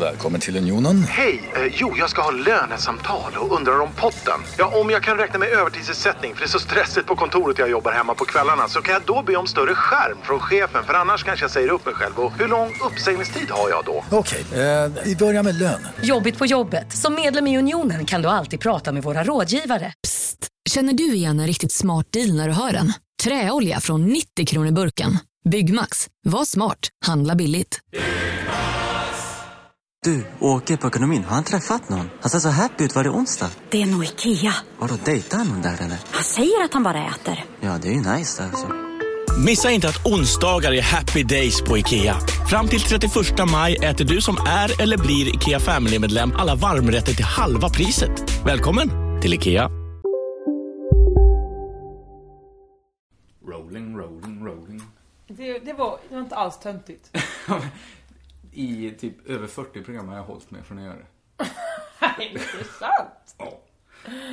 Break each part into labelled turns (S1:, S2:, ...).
S1: Välkommen till Unionen.
S2: Hej! Eh, jo, jag ska ha lönesamtal och undrar om potten. Ja, om jag kan räkna med övertidsersättning för det är så stressigt på kontoret jag jobbar hemma på kvällarna så kan jag då be om större skärm från chefen för annars kanske jag säger upp mig själv. Och hur lång uppsägningstid har jag då?
S1: Okej, eh, vi börjar med lön.
S3: Jobbigt på jobbet. Som medlem i Unionen kan du alltid prata med våra rådgivare.
S4: Psst! Känner du igen en riktigt smart deal när du hör den? Träolja från 90 kronor burken. Byggmax. Var smart. Handla billigt.
S5: Du, åker på ekonomin. Har han träffat någon? Han ser så happy ut. Var det onsdag?
S6: Det är nog Ikea.
S5: Vadå, dejtar han någon där eller?
S6: Han säger att han bara äter.
S5: Ja, det är ju nice där alltså.
S7: Missa inte att onsdagar är happy days på IKEA. Fram till 31 maj äter du som är eller blir IKEA Family-medlem alla varmrätter till halva priset. Välkommen till IKEA.
S8: Rolling, rolling, rolling.
S9: Det, det, var, det var inte alls töntigt.
S8: I typ över 40 program har jag hållit mig från att göra det.
S9: Nej, det är sant.
S8: Ja.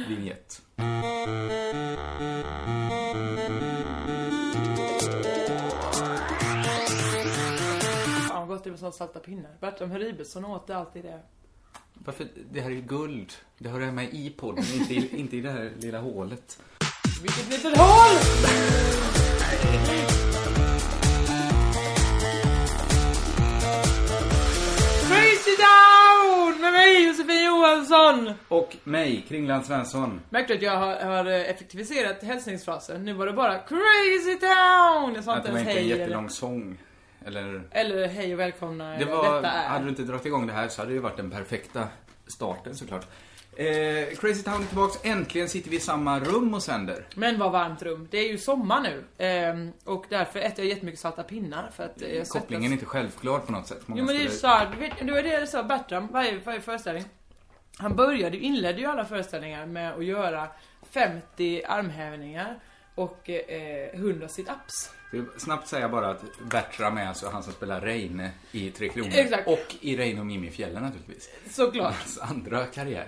S8: Vinjett.
S9: Fan vad gott det är med såna salta pinnar. Bertram Ribesson åt det alltid det.
S8: Varför? Det här är ju guld. Det hör hemma i podden, inte i, inte i det här lilla hålet.
S9: Vilket litet hål! Crazy Down! Med mig Josefin Johansson!
S8: Och mig, Kringland Svensson.
S9: Märkte att jag har, har effektiviserat hälsningsfrasen. Nu var det bara Crazy Town! Jag sa
S8: Att
S9: inte
S8: det var
S9: ens
S8: inte en
S9: hej eller,
S8: jättelång sång. Eller...
S9: eller hej och välkomna.
S8: Det
S9: eller
S8: var,
S9: Detta är.
S8: hade du inte dragit igång det här så hade det ju varit den perfekta starten såklart. Eh, Crazy Town är tillbaks. Äntligen sitter vi i samma rum och sänder.
S9: Men vad varmt rum. Det är ju sommar nu. Ehm, och därför äter jag jättemycket salta pinnar. För att eh, jag svettas.
S8: Mm, Kopplingen är inte självklar på något sätt. Många
S9: Jo men det är ju
S8: skulle-
S9: såhär, du vet- det var det jag sa Bertram varje, varje föreställning. Han började, ju- inledde ju alla föreställningar med att göra 50 armhävningar och eh, 100 situps.
S8: Jag vill Snabbt säga bara att Bertram är alltså han som spelar Reine i Tre Kronor.
S9: Exakt.
S8: Och i Reine och Mimifjällen naturligtvis.
S9: Såklart.
S8: Hans andra karriär.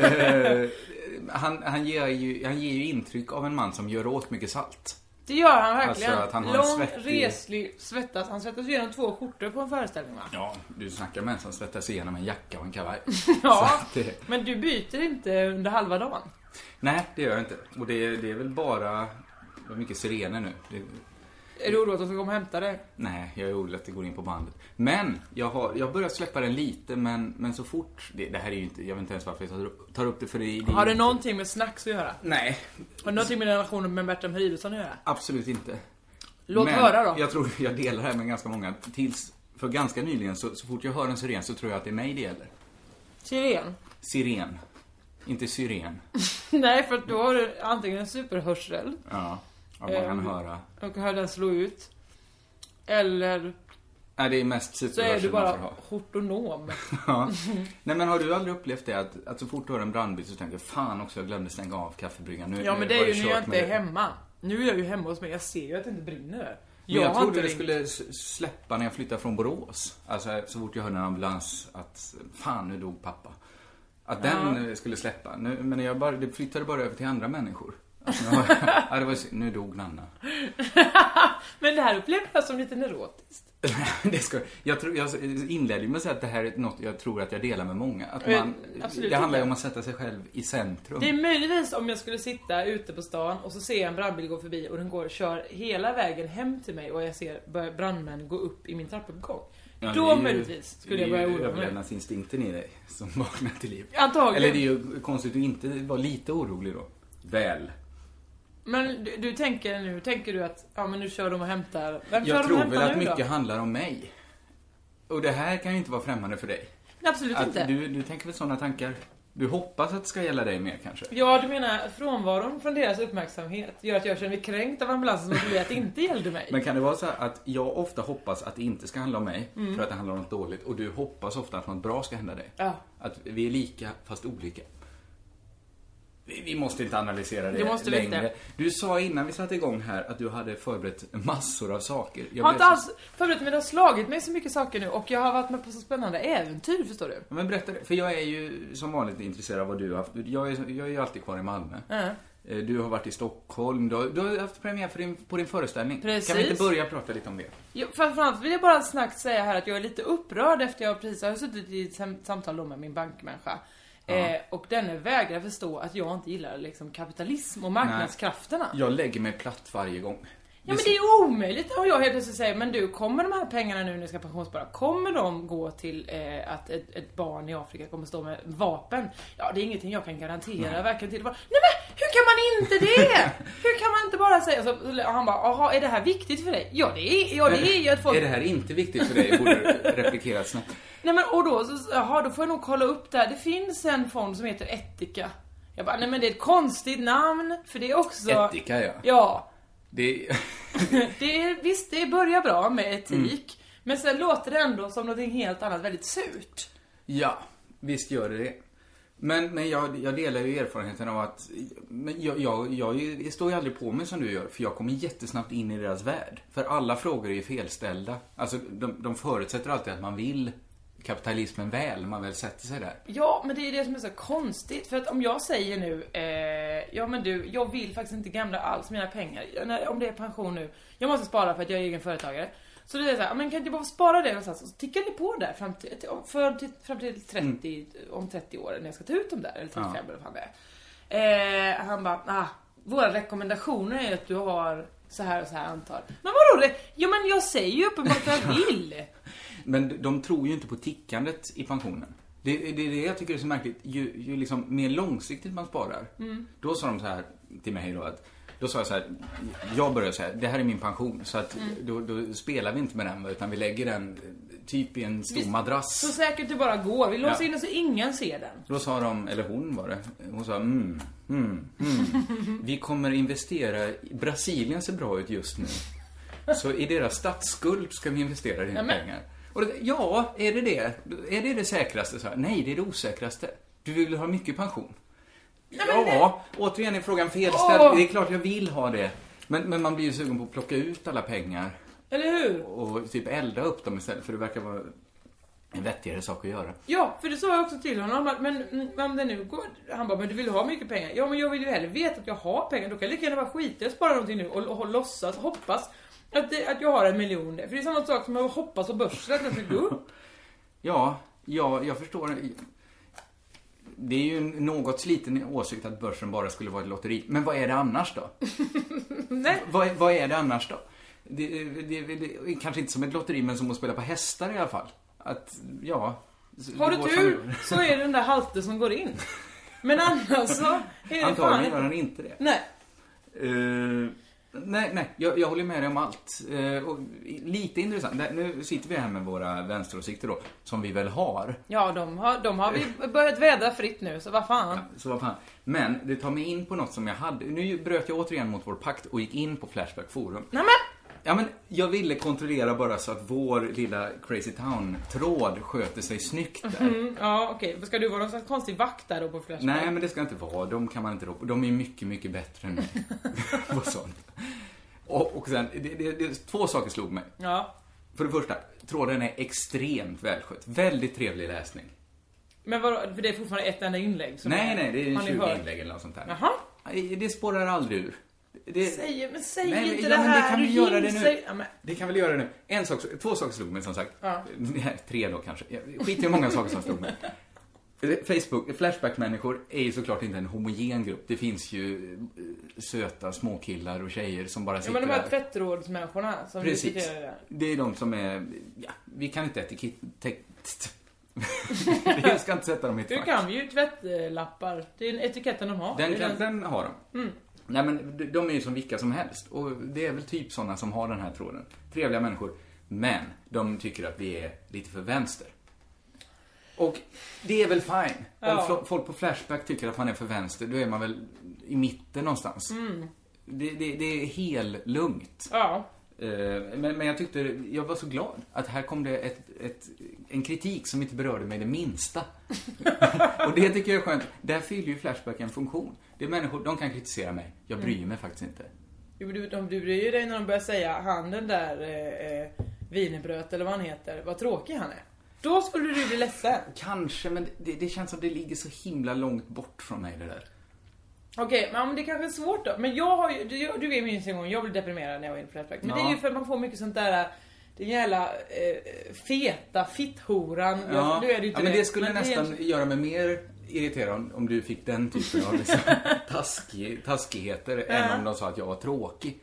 S8: Eh, han, han, ger ju, han ger ju intryck av en man som gör åt mycket salt.
S9: Det gör han verkligen.
S8: Alltså, att han har en
S9: Lång,
S8: svettig-
S9: reslig, svettas. Han svettas igenom två skjortor på en föreställning va?
S8: Ja, du snackar med en som svettas igenom en jacka och en kavaj.
S9: Ja.
S8: Så att det,
S9: Men du byter inte under halva dagen.
S8: nej, det gör jag inte. Och det, det är väl bara... Det var mycket sirener nu. Det,
S9: Är du orolig att de ska komma och hämta dig?
S8: Nej, jag är orolig att det går in på bandet. Men, jag har jag börjar släppa den lite, men, men så fort... Det, det här är ju inte... Jag vet inte ens varför jag tar upp, tar upp det, för det, det är
S9: Har det
S8: ju-
S9: någonting med snacks att göra?
S8: Nej,
S9: Har det någonting med relationen med Bertram Ribesson att göra?
S8: absolut inte.
S9: Låt
S8: men
S9: höra då.
S8: jag tror jag delar det här med ganska många. Tills, för ganska nyligen, så, så fort jag hör en siren så tror jag att det är mig det gäller.
S9: Siren?
S8: Siren. Inte syren.
S9: Nej, för att då har du antingen en superhörsel
S8: Ja, om man kan
S9: Ehm.
S8: höra.
S9: och hör den slå ut. Eller
S8: Nej, det är mest
S9: så är du
S8: superhörsel man får
S9: bara
S8: ha.
S9: hortonom.
S8: Ja. Nej men har du aldrig upplevt det att, att så fort du hör en brandbil så tänker du Fan också, jag glömde stänga av kaffebryggan. Nu,
S9: Ja men det
S8: var
S9: är ju när jag
S8: kört med
S9: inte är
S8: det."
S9: hemma. Nu är jag ju hemma hos mig, jag ser ju att det inte brinner där.
S8: Men jag,
S9: har
S8: trodde
S9: inte
S8: det
S9: ringt.
S8: skulle s- släppa när jag flyttade från Borås. Alltså så fort jag hörde en ambulans att fan nu dog pappa. Att den eh, skulle släppa. Nu, men jag bara, det flyttade bara över till andra människor. Att nu har- ja, det var, ju- nu dog Nanna.
S9: Men det här upplevde jag som lite neurotiskt.
S8: det ska, jag, tror, jag inledde ju med att säga att det här är något jag tror att jag delar med många. Att
S9: Eh,
S8: man,
S9: absolut
S8: det handlar ju
S9: inte.
S8: om att sätta sig själv i centrum.
S9: Det är möjligtvis om jag skulle sitta ute på stan och så ser jag en brandbil gå förbi och den går och kör hela vägen hem till mig och jag ser börjar brandmän gå upp i min trappuppgång.
S8: Ja, det
S9: Då
S8: är ju-
S9: möjligtvis skulle
S8: det är
S9: jag börja
S8: ju
S9: oroa mig.
S8: överlevnadsinstinkten i dig som vaknar till liv.
S9: Antagligen.
S8: Eller det är ju konstigt att inte vara lite orolig då. Väl.
S9: Men du, du tänker nu, tänker du att ja men nu kör de och hämtar. Vem kör
S8: Jag
S9: de och
S8: tror
S9: hämtar
S8: väl att
S9: nu
S8: mycket
S9: då?
S8: handlar om mig. Och det här kan ju inte vara främmande för dig.
S9: Nej, Absolut
S8: Att
S9: inte.
S8: du, du tänker väl sådana tankar? Du hoppas att det ska gälla dig mer kanske?
S9: Ja du menar frånvaron från deras uppmärksamhet gör att jag känner mig kränkt av ambulansen som att det inte gällde mig.
S8: Men kan det vara så här att jag ofta hoppas att det inte ska handla om mig för att det handlar om något dåligt och du hoppas ofta att något bra ska hända dig?
S9: Mm. Ja.
S8: Att vi är lika fast olika. Vi, vi måste inte analysera det,
S9: Det måste vi
S8: längre.
S9: inte.
S8: Du sa innan vi satte igång här att du hade förberett massor av saker. Jag
S9: Jag har
S8: blev
S9: inte
S8: så-
S9: alls förberett mig, det har slagit mig så mycket saker nu och jag har varit med på så spännande äventyr förstår du.
S8: Ja, Men berätta det, för jag är ju som vanligt intresserad av vad du har haft. Jag är, jag är ju alltid kvar i Malmö.
S9: Ja.
S8: Eh, Du har varit i Stockholm, du har, du har haft premiär för din, på din föreställning. Kan vi
S9: Precis.
S8: inte börja prata lite om det?
S9: Jo, framförallt vill jag bara snabbt säga här att jag är lite upprörd efter jag precis har suttit i ett sam- samtal då med min bankmänniska. Eh, och denne vägrar förstå att jag inte gillar liksom kapitalism och marknadskrafterna. Ja,
S8: Jag lägger mig platt varje gång.
S9: men det är omöjligt och jag helt plötsligt säger, men du kommer de här pengarna nu när ni ska pensionsspara, kommer de gå till eh, att ett, ett barn i Afrika kommer stå med vapen? Ja, det är ingenting jag kan garantera, varken till Nej men hur kan man inte det? hur kan man inte bara säga så? Och han bara, jaha är det här viktigt för dig? Ja det är, ja, det är ju att folk
S8: Är det här inte viktigt för dig? Borde replikera snabbt.
S9: Nej men och då, så, jaha, då får jag nog kolla upp det här. Det finns en fond som heter Etika. Jag bara, nej men det är ett konstigt namn, för det är också...
S8: Etika, ja.
S9: Ja.
S8: Det är...
S9: Det är, visst, det börjar bra med etik. Men sen låter det ändå som någonting helt annat, väldigt surt.
S8: Ja, visst gör det det. Men, men jag, jag delar ju erfarenheten av att men jag, jag, jag, jag står ju aldrig på mig som du gör, för jag kommer jättesnabbt in i deras värld. För alla frågor är ju felställda. Alltså, de, de förutsätter alltid att man vill kapitalismen väl, man väl sätter sig där.
S9: Ja, men det är det som är så konstigt. För att om jag säger nu, eh, ja men du, jag vill faktiskt inte gamla alls mina pengar. Jag- när- Om det är pension nu, jag måste spara för att jag är egen företagare. Så det är så här, "Ja, men kan inte jag bara spara det någonstans? Och så tickar det på där fram till, om- för, till, fram till 30,
S8: Mm.
S9: om 30 år när jag ska ta ut dem där. Eller 35 eller vad fan det är. Eh, han bara, ah, våra rekommendationer är att du har så här och så här antal. Men vadå? det- Ja men jag säger ju uppenbart vad jag vill.
S8: Men de tror ju inte på tickandet i pensionen. Det, det är det jag tycker är så märkligt. Ju, ju liksom mer långsiktigt man sparar. Då sa de så här till mig då att då sa jag så här, jag började säga, det här är min pension. Så att då, då spelar vi inte med den utan vi lägger den eh, typ i en stor
S9: Visst. Så
S8: madrass.
S9: säkert det bara går. Vi låser
S8: Ja.
S9: in den så ingen ser den.
S8: Då sa de, eller hon var det, hon sa mm, mm, mm. Vi kommer investera, i- Brasilien ser bra ut just nu. Så i deras statsskuld ska vi investera dina
S9: men-
S8: pengar. Och det, ja, är det det? Är det det säkraste? Så här, Nej, det är det osäkraste. Du vill ha mycket pension? ja, återigen är frågan felställd.
S9: Åh!
S8: Det är klart jag vill ha det. Men, men man blir ju sugen på att plocka ut alla pengar
S9: Eller hur?
S8: och typ elda upp dem istället, för det verkar vara en vettigare sak att göra.
S9: Ja, för det sa jag också till honom. att, Men mm, om det nu går... Han bara, men du vill ha mycket pengar? Ja, men jag vill ju hellre veta att jag har pengar. Då kan jag lika gärna bara skita i att spara någonting nu och, och, låtsas, hoppas att, det, att jag har en miljon. För det är samma sak som att hoppas på börsen att den ska gå upp.
S8: Ja, ja, jag förstår. Det är ju en något sliten åsikt att börsen bara skulle vara ett lotteri. Men vad är det annars då?
S9: Nej.
S8: Vad, är- vad är det annars då? Det, det, det, det, kanske inte som ett lotteri, men som att spela på hästar i alla fall. Att, ja.
S9: Har
S8: det
S9: du
S8: går som
S9: tur så är det den där halten som går in. Men annars så är det fan
S8: Antagligen gör
S9: inte...
S8: han inte det.
S9: Nej.
S8: Eh, nej, nej, jag, jag håller med dig om allt. Eh, och lite intressant. Där- Nu sitter vi här med våra vänsteråsikter då, som vi väl har.
S9: Ja, de har, de har vi börjat vädra fritt nu, så vad fan.
S8: Så vad fan. Men det tar mig in på något som jag hade. Nu bröt jag återigen mot vår pakt och gick in på Flashback Forum.
S9: Nej men!
S8: Ja, men jag ville kontrollera bara så att vår lilla Crazy Town-tråd sköter sig snyggt där.
S9: Ja, okej. Ska du vara någon slags konstig vakt där då på Flashback?
S8: Nej, men det ska inte vara. De kan man inte rå på. De är mycket, mycket bättre än mig på sånt. Och, och sen, det, det, det, två saker slog mig.
S9: Ja.
S8: För det första, tråden är extremt välskött. Väldigt trevlig läsning.
S9: Men vadå, för det är fortfarande ett enda inlägg? Som
S8: Nej, nej, det är
S9: har ni
S8: 20
S9: hört?
S8: inlägg eller något sånt där.
S9: Jaha.
S8: Nej, Det spårar aldrig ur. Det,
S9: Säg, men säg
S8: Nej, men-
S9: inte
S8: ja,
S9: det
S8: men
S9: här,
S8: Det kan
S9: du
S8: vi göra det
S9: jinxar-
S8: nu.
S9: Ja, men,
S8: Det kan vi göra det nu. En sak, två saker slog mig som sagt.
S9: Ja.
S8: Nej, Tre då kanske. Jag Skit i hur många saker som slog mig. Facebook, Flashback-människor är ju såklart inte en homogen grupp. Det finns ju eh, söta småkillar och tjejer som bara
S9: ja,
S8: sitter
S9: men de här
S8: där.
S9: tvättrådsmänniskorna som
S8: Precis.
S9: diskuterar det där.
S8: Det är de som är, ja, vi kan inte etikett... te- t- Jag ska inte sätta dem i ett
S9: Du
S8: fack.
S9: kan ju tvättlappar. Det är en etiketten de
S8: Den,
S9: har. Det Mm.
S8: kan,
S9: är
S8: den har de. Nej men de- de är ju som vilka som helst. Och det är väl typ sådana som har den här tråden. Trevliga människor. Men de tycker att vi är lite för vänster. Och det är väl fine.
S9: Ja.
S8: Om fl- folk på Flashback tycker att man är för vänster, då är man väl i mitten någonstans.
S9: Mm.
S8: Det, det, det är helt lugnt.
S9: Ja.
S8: Eh, Men, men jag tyckte, jag var så glad att här kom det ett, ett, en kritik som inte berörde mig det minsta. och det tycker jag är skönt. Där fyller ju Flashback en funktion. Det är människor, de kan kritisera mig. Jag bryr mig faktiskt inte.
S9: Jo, men Du, de, du bryr ju dig när de börjar säga han den där eh, eh, wienerbröt eller vad han heter, vad tråkig han är. Då skulle du bli ledsen.
S8: Kanske, men det, det känns som det ligger så himla långt bort från mig det där.
S9: Okej, men ja, men det kanske är svårt då. Men jag har ju, du, du vet minns en gång jag blev deprimerad när jag var inne på Flashback. Men det är ju för att man får mycket sånt där, den jävla eh, feta fitthoran.
S8: Ja,
S9: Jag- nu är det ju inte
S8: ja men det skulle
S9: är
S8: nästan
S9: inte-
S8: göra mig mer irriterad om, om du fick den typen av liksom, taskig, taskigheter än om de sa att jag var tråkig.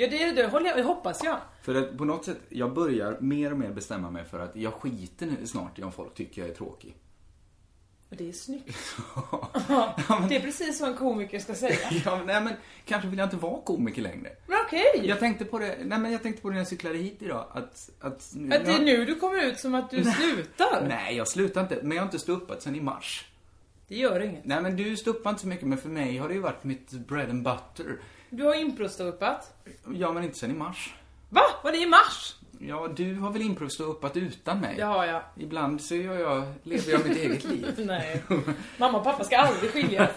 S9: Ja det är det, håller jag, hoppas jag.
S8: För att på något sätt, jag börjar mer och mer bestämma mig för att jag skiter nu snart i om folk tycker jag är tråkig.
S9: Och det är snyggt. ja, det är precis vad en komiker ska säga.
S8: Ja, men- nej men kanske vill jag inte vara komiker längre.
S9: Men okej!
S8: Jag tänkte på det, nej men jag tänkte på det när jag cyklade hit idag att... Att, nu,
S9: Att det är nu du kommer ut som att du slutar.
S8: Nej, jag slutar inte. Men jag har inte ståuppat sen i mars.
S9: Det gör inget.
S8: Nej men du ståuppar inte så mycket, men för mig har det ju varit mitt bread and butter.
S9: Du har improståuppat.
S8: Ja, men inte sen i mars.
S9: Va? Var det i mars?
S8: Ja, du har väl improv-ståuppat utan mig?
S9: Det har jag.
S8: Ibland så gör jag, lever jag mitt eget liv.
S9: Nej. Mamma och pappa ska aldrig skiljas.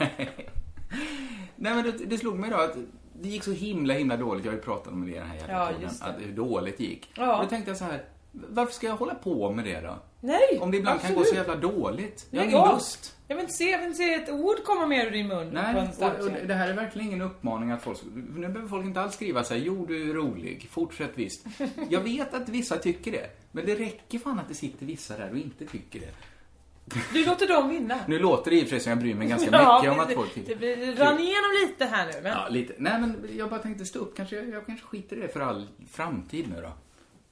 S8: Nej men det, det slog mig då att det gick så himla himla dåligt. Jag har ju pratat om det i den här jävla
S9: Ja,
S8: podden,
S9: just det.
S8: att hur dåligt det gick.
S9: Ja.
S8: Och då tänkte jag så här, varför ska jag hålla på med det då?
S9: Nej,
S8: Om det ibland kan gå
S9: absolut.
S8: så jävla dåligt. Jag har
S9: Lägg
S8: ingen
S9: av.
S8: lust.
S9: Jag vill inte se, jag vill inte se ett ord komma mer ur din mun på
S8: Nej,
S9: en stark
S8: och, och det här är verkligen ingen uppmaning att folk... Nu behöver folk inte alls skriva så här, jo du är rolig, fortsätt visst. Jag vet att vissa tycker det, men det räcker fan att det sitter vissa där och inte tycker det.
S9: Du låter dem vinna.
S8: Nu låter det i och för sig som jag bryr mig ganska mycket om att folk
S9: det,
S8: tycker
S9: det, det rann igenom lite här nu. Men
S8: Ja, lite. Nej, men jag bara tänkte stå upp. Kanske, jag kanske skiter i det för all framtid nu då.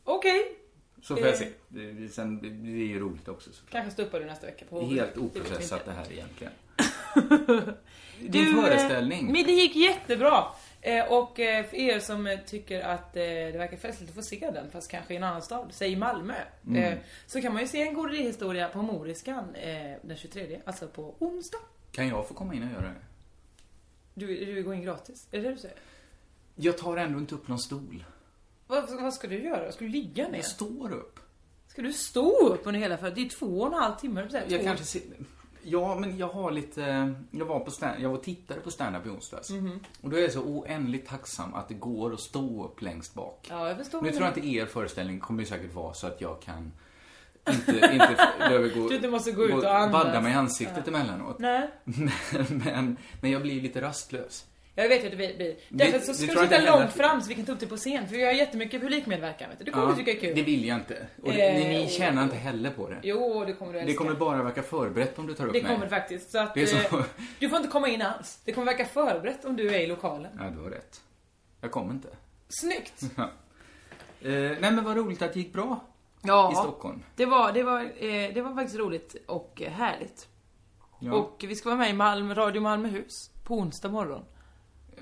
S9: okej.
S8: Så får jag
S9: Eh.
S8: se. Det- det- Sen, det det är ju roligt också såklart.
S9: Kanske stoppar du nästa vecka på
S8: Det är
S9: Det
S8: Helt
S9: vet vi inte.
S8: oprocessat det här egentligen. Din
S9: Du, eh,
S8: föreställning.
S9: Men det gick jättebra. Eh, Och eh, för er som eh, tycker att eh, det verkar festligt att få se den, fast kanske i en annan stad, säg Malmö.
S8: Mm.
S9: eh, Så kan man ju se en god idéhistoria på Moriskan eh, den 23, alltså på onsdag.
S8: Kan jag få komma in och göra det?
S9: Du, du går in gratis, är det det du säger?
S8: Jag tar ändå inte upp någon stol.
S9: Vad, vad ska du göra? Ska du ligga ner?
S8: Jag står upp.
S9: Ska du stå upp under hela för Det är två och en halv timme. Så här,
S8: Jag
S9: två-
S8: kanske sit- Ja, men jag har lite... Jag var på stand... Jag var och tittade på stand-up i onsdags.
S9: Mhm.
S8: Och då är jag så oändligt tacksam att det går att stå upp längst bak.
S9: Ja, jag förstår.
S8: Nu
S9: vad
S8: tror jag
S9: du
S8: inte er föreställning kommer ju säkert vara så att jag kan inte, inte behöver gå,
S9: Du inte måste gå ut och andas.
S8: badda mig i ansiktet emellanåt.
S9: menar. Nej.
S8: Men, men, men jag blir lite rastlös.
S9: Jag vet ju att det blir- blir. Därför
S8: det
S9: så ska du
S8: tror jag
S9: sitta
S8: inte heller
S9: långt
S8: att-
S9: fram så vi kan ta upp dig på scen. För vi har jättemycket publikmedverkan. Vet du. Det kommer
S8: Ja,
S9: du tycka är kul.
S8: Det vill jag inte. Och
S9: Eh,
S8: ni, ni tjänar inte heller på det.
S9: Jo, det kommer du älska.
S8: Det kommer bara verka förberett om du tar upp
S9: Det kommer
S8: mig.
S9: faktiskt. Så att,
S8: Det är så-
S9: eh, Du får inte komma in alls. Det kommer verka förberett om du är i lokalen.
S8: Ja, du har rätt. Jag kommer inte.
S9: Snyggt!
S8: Eh, nej men vad roligt att det gick bra
S9: Ja.
S8: i Stockholm.
S9: Det var, det, var, eh, det var faktiskt roligt och eh, härligt.
S8: Ja.
S9: Och vi ska vara med i Malmö, Radio Malmöhus på onsdag morgon.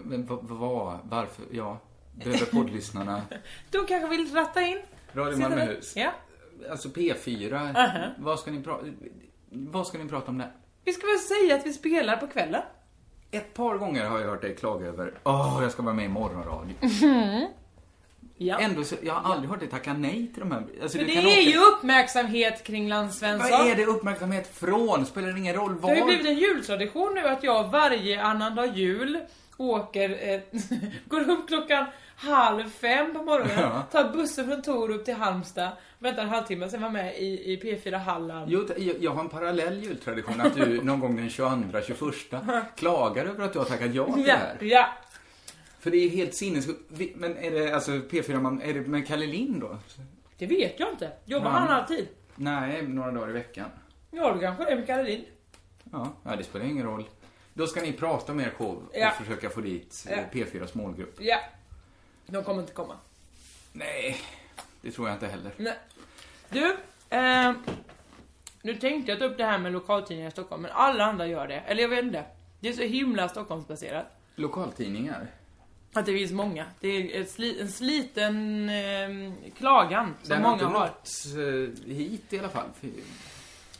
S8: Men vad, vad, varför, ja. Behöver poddlyssnarna
S9: Du kanske vill ratta in?
S8: Radio
S9: Sitter där?
S8: Malmöhus?
S9: Ja.
S8: Alltså P4, vad, ska ni pra- vad ska ni prata om där?
S9: Vi ska väl säga att vi spelar på kvällen.
S8: Ett par gånger har jag hört dig klaga över Åh, jag ska vara med i morgonradio.
S9: Mm. Ja.
S8: Ändå så, jag har aldrig hört dig tacka nej till de här. Alltså,
S9: För
S8: du
S9: det
S8: kan
S9: är
S8: åka-
S9: ju uppmärksamhet kring Land Svensson.
S8: Vad är det uppmärksamhet från? Spelar ingen roll
S9: Det
S8: var?
S9: har ju blivit en jultradition nu att jag varje annandag jul åker, eh, går upp klockan halv fem på morgonen,
S8: Ja.
S9: tar bussen från Torup till Halmstad, väntar en halvtimme, sen var med i, i P4 Halland.
S8: Jo, t- jag jag har en parallell jultradition att du någon gång den 22, 21 klagar över att du har tackat ja till det
S9: ja,
S8: här.
S9: ja.
S8: För det är helt sinnessjukt. Vi- Men är det alltså P4, man, är det med Kalle Lind då?
S9: Det vet jag inte. Jobbar
S8: Nej.
S9: han alltid?
S8: Nej, några dagar i veckan.
S9: Ja, du kanske det är med Karolin.
S8: Ja, ja, det spelar ingen roll. Då ska ni prata med er show och
S9: Ja.
S8: försöka få dit
S9: Ja.
S8: eh, P4s målgrupp.
S9: Ja. De kommer inte komma.
S8: Nej, det tror jag inte heller.
S9: Nej. Du, eh, nu tänkte jag ta upp det här med lokaltidningar i Stockholm, men alla andra gör det. Eller jag vet inte. Det är så himla Stockholmsbaserat.
S8: Lokaltidningar?
S9: Att det finns många. Det är ett sli, en sliten eh, klagan
S8: Det
S9: som
S8: har
S9: många
S8: inte
S9: har.
S8: nått eh, hit i alla fall. Fy-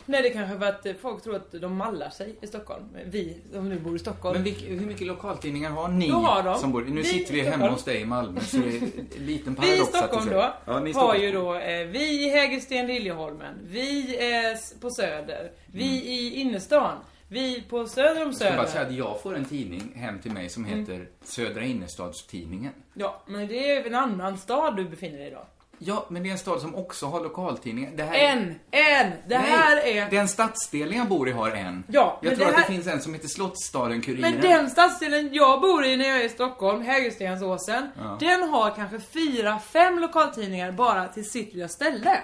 S9: Nej, det är kanske för att eh, folk tror att de mallar sig i Stockholm. Vi som nu bor i Stockholm.
S8: Men vilk, hur mycket lokaltidningar har ni?
S9: Då har de.
S8: Som bor, nu
S9: Vi
S8: sitter
S9: i
S8: vi hemma
S9: Stockholm.
S8: hos dig i Malmö, så det är en liten
S9: Vi i
S8: paradox att
S9: Stockholm
S8: du
S9: då
S8: säger. Ja, ni i
S9: har
S8: Stockholm.
S9: ju då eh, vi i Hägersten Liljeholmen, vi eh, s- på Söder, vi i innerstan, vi på Söder om
S8: Mm. Jag ska bara
S9: Söder.
S8: säga att jag får en tidning hem till mig som
S9: Mm.
S8: heter Södra Innerstadstidningen.
S9: Ja, men det är ju en annan stad du befinner dig i då.
S8: Ja, men det är en stad som också har lokaltidningar. Det här är-
S9: En! En! Det här
S8: Nej,
S9: är...
S8: Den stadsdel jag bor i har en.
S9: Ja,
S8: jag
S9: men
S8: tror
S9: det
S8: att
S9: här-
S8: det finns en som heter Slottsstaden-Kuriren.
S9: Men den stadsdelen jag bor i när jag är i Stockholm, Hägerstensåsen, den har kanske fyra, fem lokaltidningar bara till sitt lilla ställe.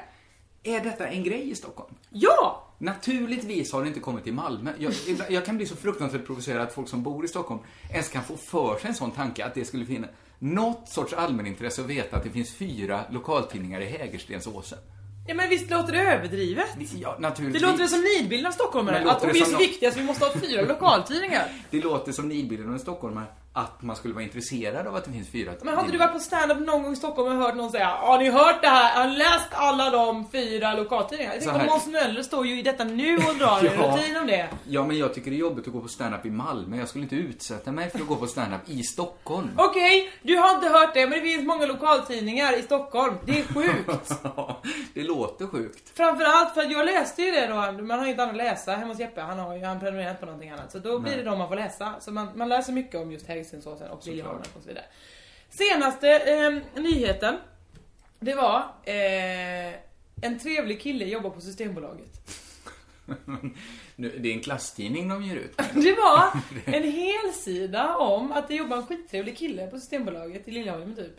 S8: Är detta en grej i Stockholm?
S9: Ja!
S8: Naturligtvis har det inte kommit till Malmö. Jag, ibland- jag kan bli så fruktansvärt provocerad att folk som bor i Stockholm ens kan få för sig en sån tanke att det skulle finnas något sorts allmänintresse att veta att det finns fyra lokaltidningar i Hägerstensåsen.
S9: Ja men visst låter det överdrivet?
S8: Ja,
S9: Det
S8: naturligtvis.
S9: låter som nidbilden av stockholmare,
S8: Men
S9: att
S8: låter
S9: vi
S8: det
S9: är
S8: som
S9: så
S8: något-
S9: viktiga så vi måste ha fyra lokaltidningar.
S8: Det låter som nidbilden av en stockholmare att man skulle vara intresserad av att det finns fyra
S9: Men har inte du
S8: tidningar.
S9: varit på stand-up någon gång i Stockholm och hört någon säga Har ni hört det här? Har ni läst alla de fyra lokaltidningarna? Jag
S8: Så
S9: tänkte
S8: här.
S9: Måns Möller står ju i detta nu och drar en
S8: Ja.
S9: rutin om det.
S8: Ja, men jag tycker det är jobbigt att gå på stand-up i Malmö. Jag skulle inte utsätta mig för att gå på stand-up i Stockholm.
S9: Okej, du har inte hört det men det finns många lokaltidningar i Stockholm. Det är sjukt.
S8: det låter sjukt.
S9: Framförallt för att jag läste ju det då, man har ju inte annat att läsa hemma hos Jeppe, han har ju han prenumererat på någonting annat. Så då blir det de man får läsa. Så man, man läser mycket om just Hägerstensåsen och Liljeholmen och så vidare. Senaste eh, nyheten, det var eh, en trevlig kille jobbar på Systembolaget.
S8: Nu, det är en klasstidning de ger ut.
S9: Det var en hel sida om att det jobbar en skittrevlig kille på Systembolaget i Liljeholmen typ.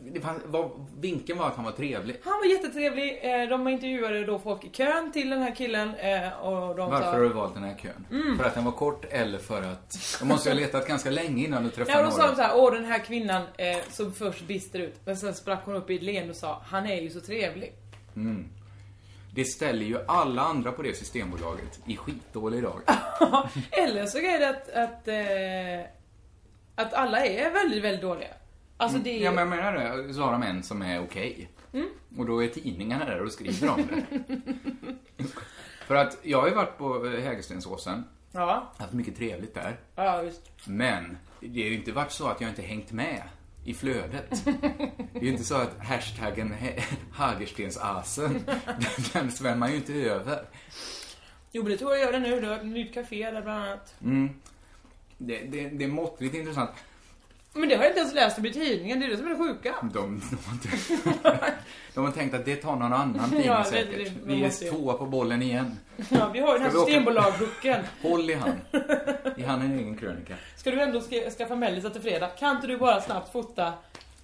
S8: Det fanns, var, vinkeln var att han var trevlig.
S9: Han var jättetrevlig, eh, de intervjuade då folk i kön till den här killen eh, och de
S8: Varför
S9: sa...
S8: har du valt den här kön?
S9: Mm.
S8: För att den var kort eller för att... De måste ju ha letat ganska länge innan du
S9: Ja,
S8: träffade
S9: då
S8: någon.
S9: sa de såhär, åh den här kvinnan eh, som först bister ut, men sen sprack hon upp i ett leende och sa, han är ju så trevlig.
S8: Det ställer ju alla andra på det Systembolaget i skitdålig dag.
S9: Eller så är det att, att, eh, att alla är väldigt, väldigt dåliga. Alltså det är
S8: Mm.
S9: Mm.
S8: Ja, men jag menar det. Så har de en som är okej. Och då är tidningarna där och skriver om det. för att jag har ju varit på eh, Hägerstensåsen,
S9: ja,
S8: haft mycket trevligt där.
S9: ja visst.
S8: Men det har ju inte varit så att jag inte hängt med i flödet. Det är ju inte så att hashtaggen hä- Hagerstensasen, den- den svämmar ju inte över.
S9: Jo men det tror jag gör det nu, du har ett nytt café där bland annat.
S8: Det, det, det är måttligt intressant.
S9: Men det har jag inte ens läst om i tidningen, det är det som är det sjuka.
S8: De, de, har inte, de har tänkt att det tar någon annan tid
S9: Ja, det-
S8: säkert.
S9: det- det
S8: Vi
S9: måste
S8: är
S9: ju.
S8: tvåa på bollen igen.
S9: Ja, vi har ju den här
S8: Ska vi åka?
S9: Systembolagsboken.
S8: Håll i han. I han en egen krönika.
S9: Ska du ändå ska- skaffa mellisar till fredag? Kan inte du bara snabbt fota?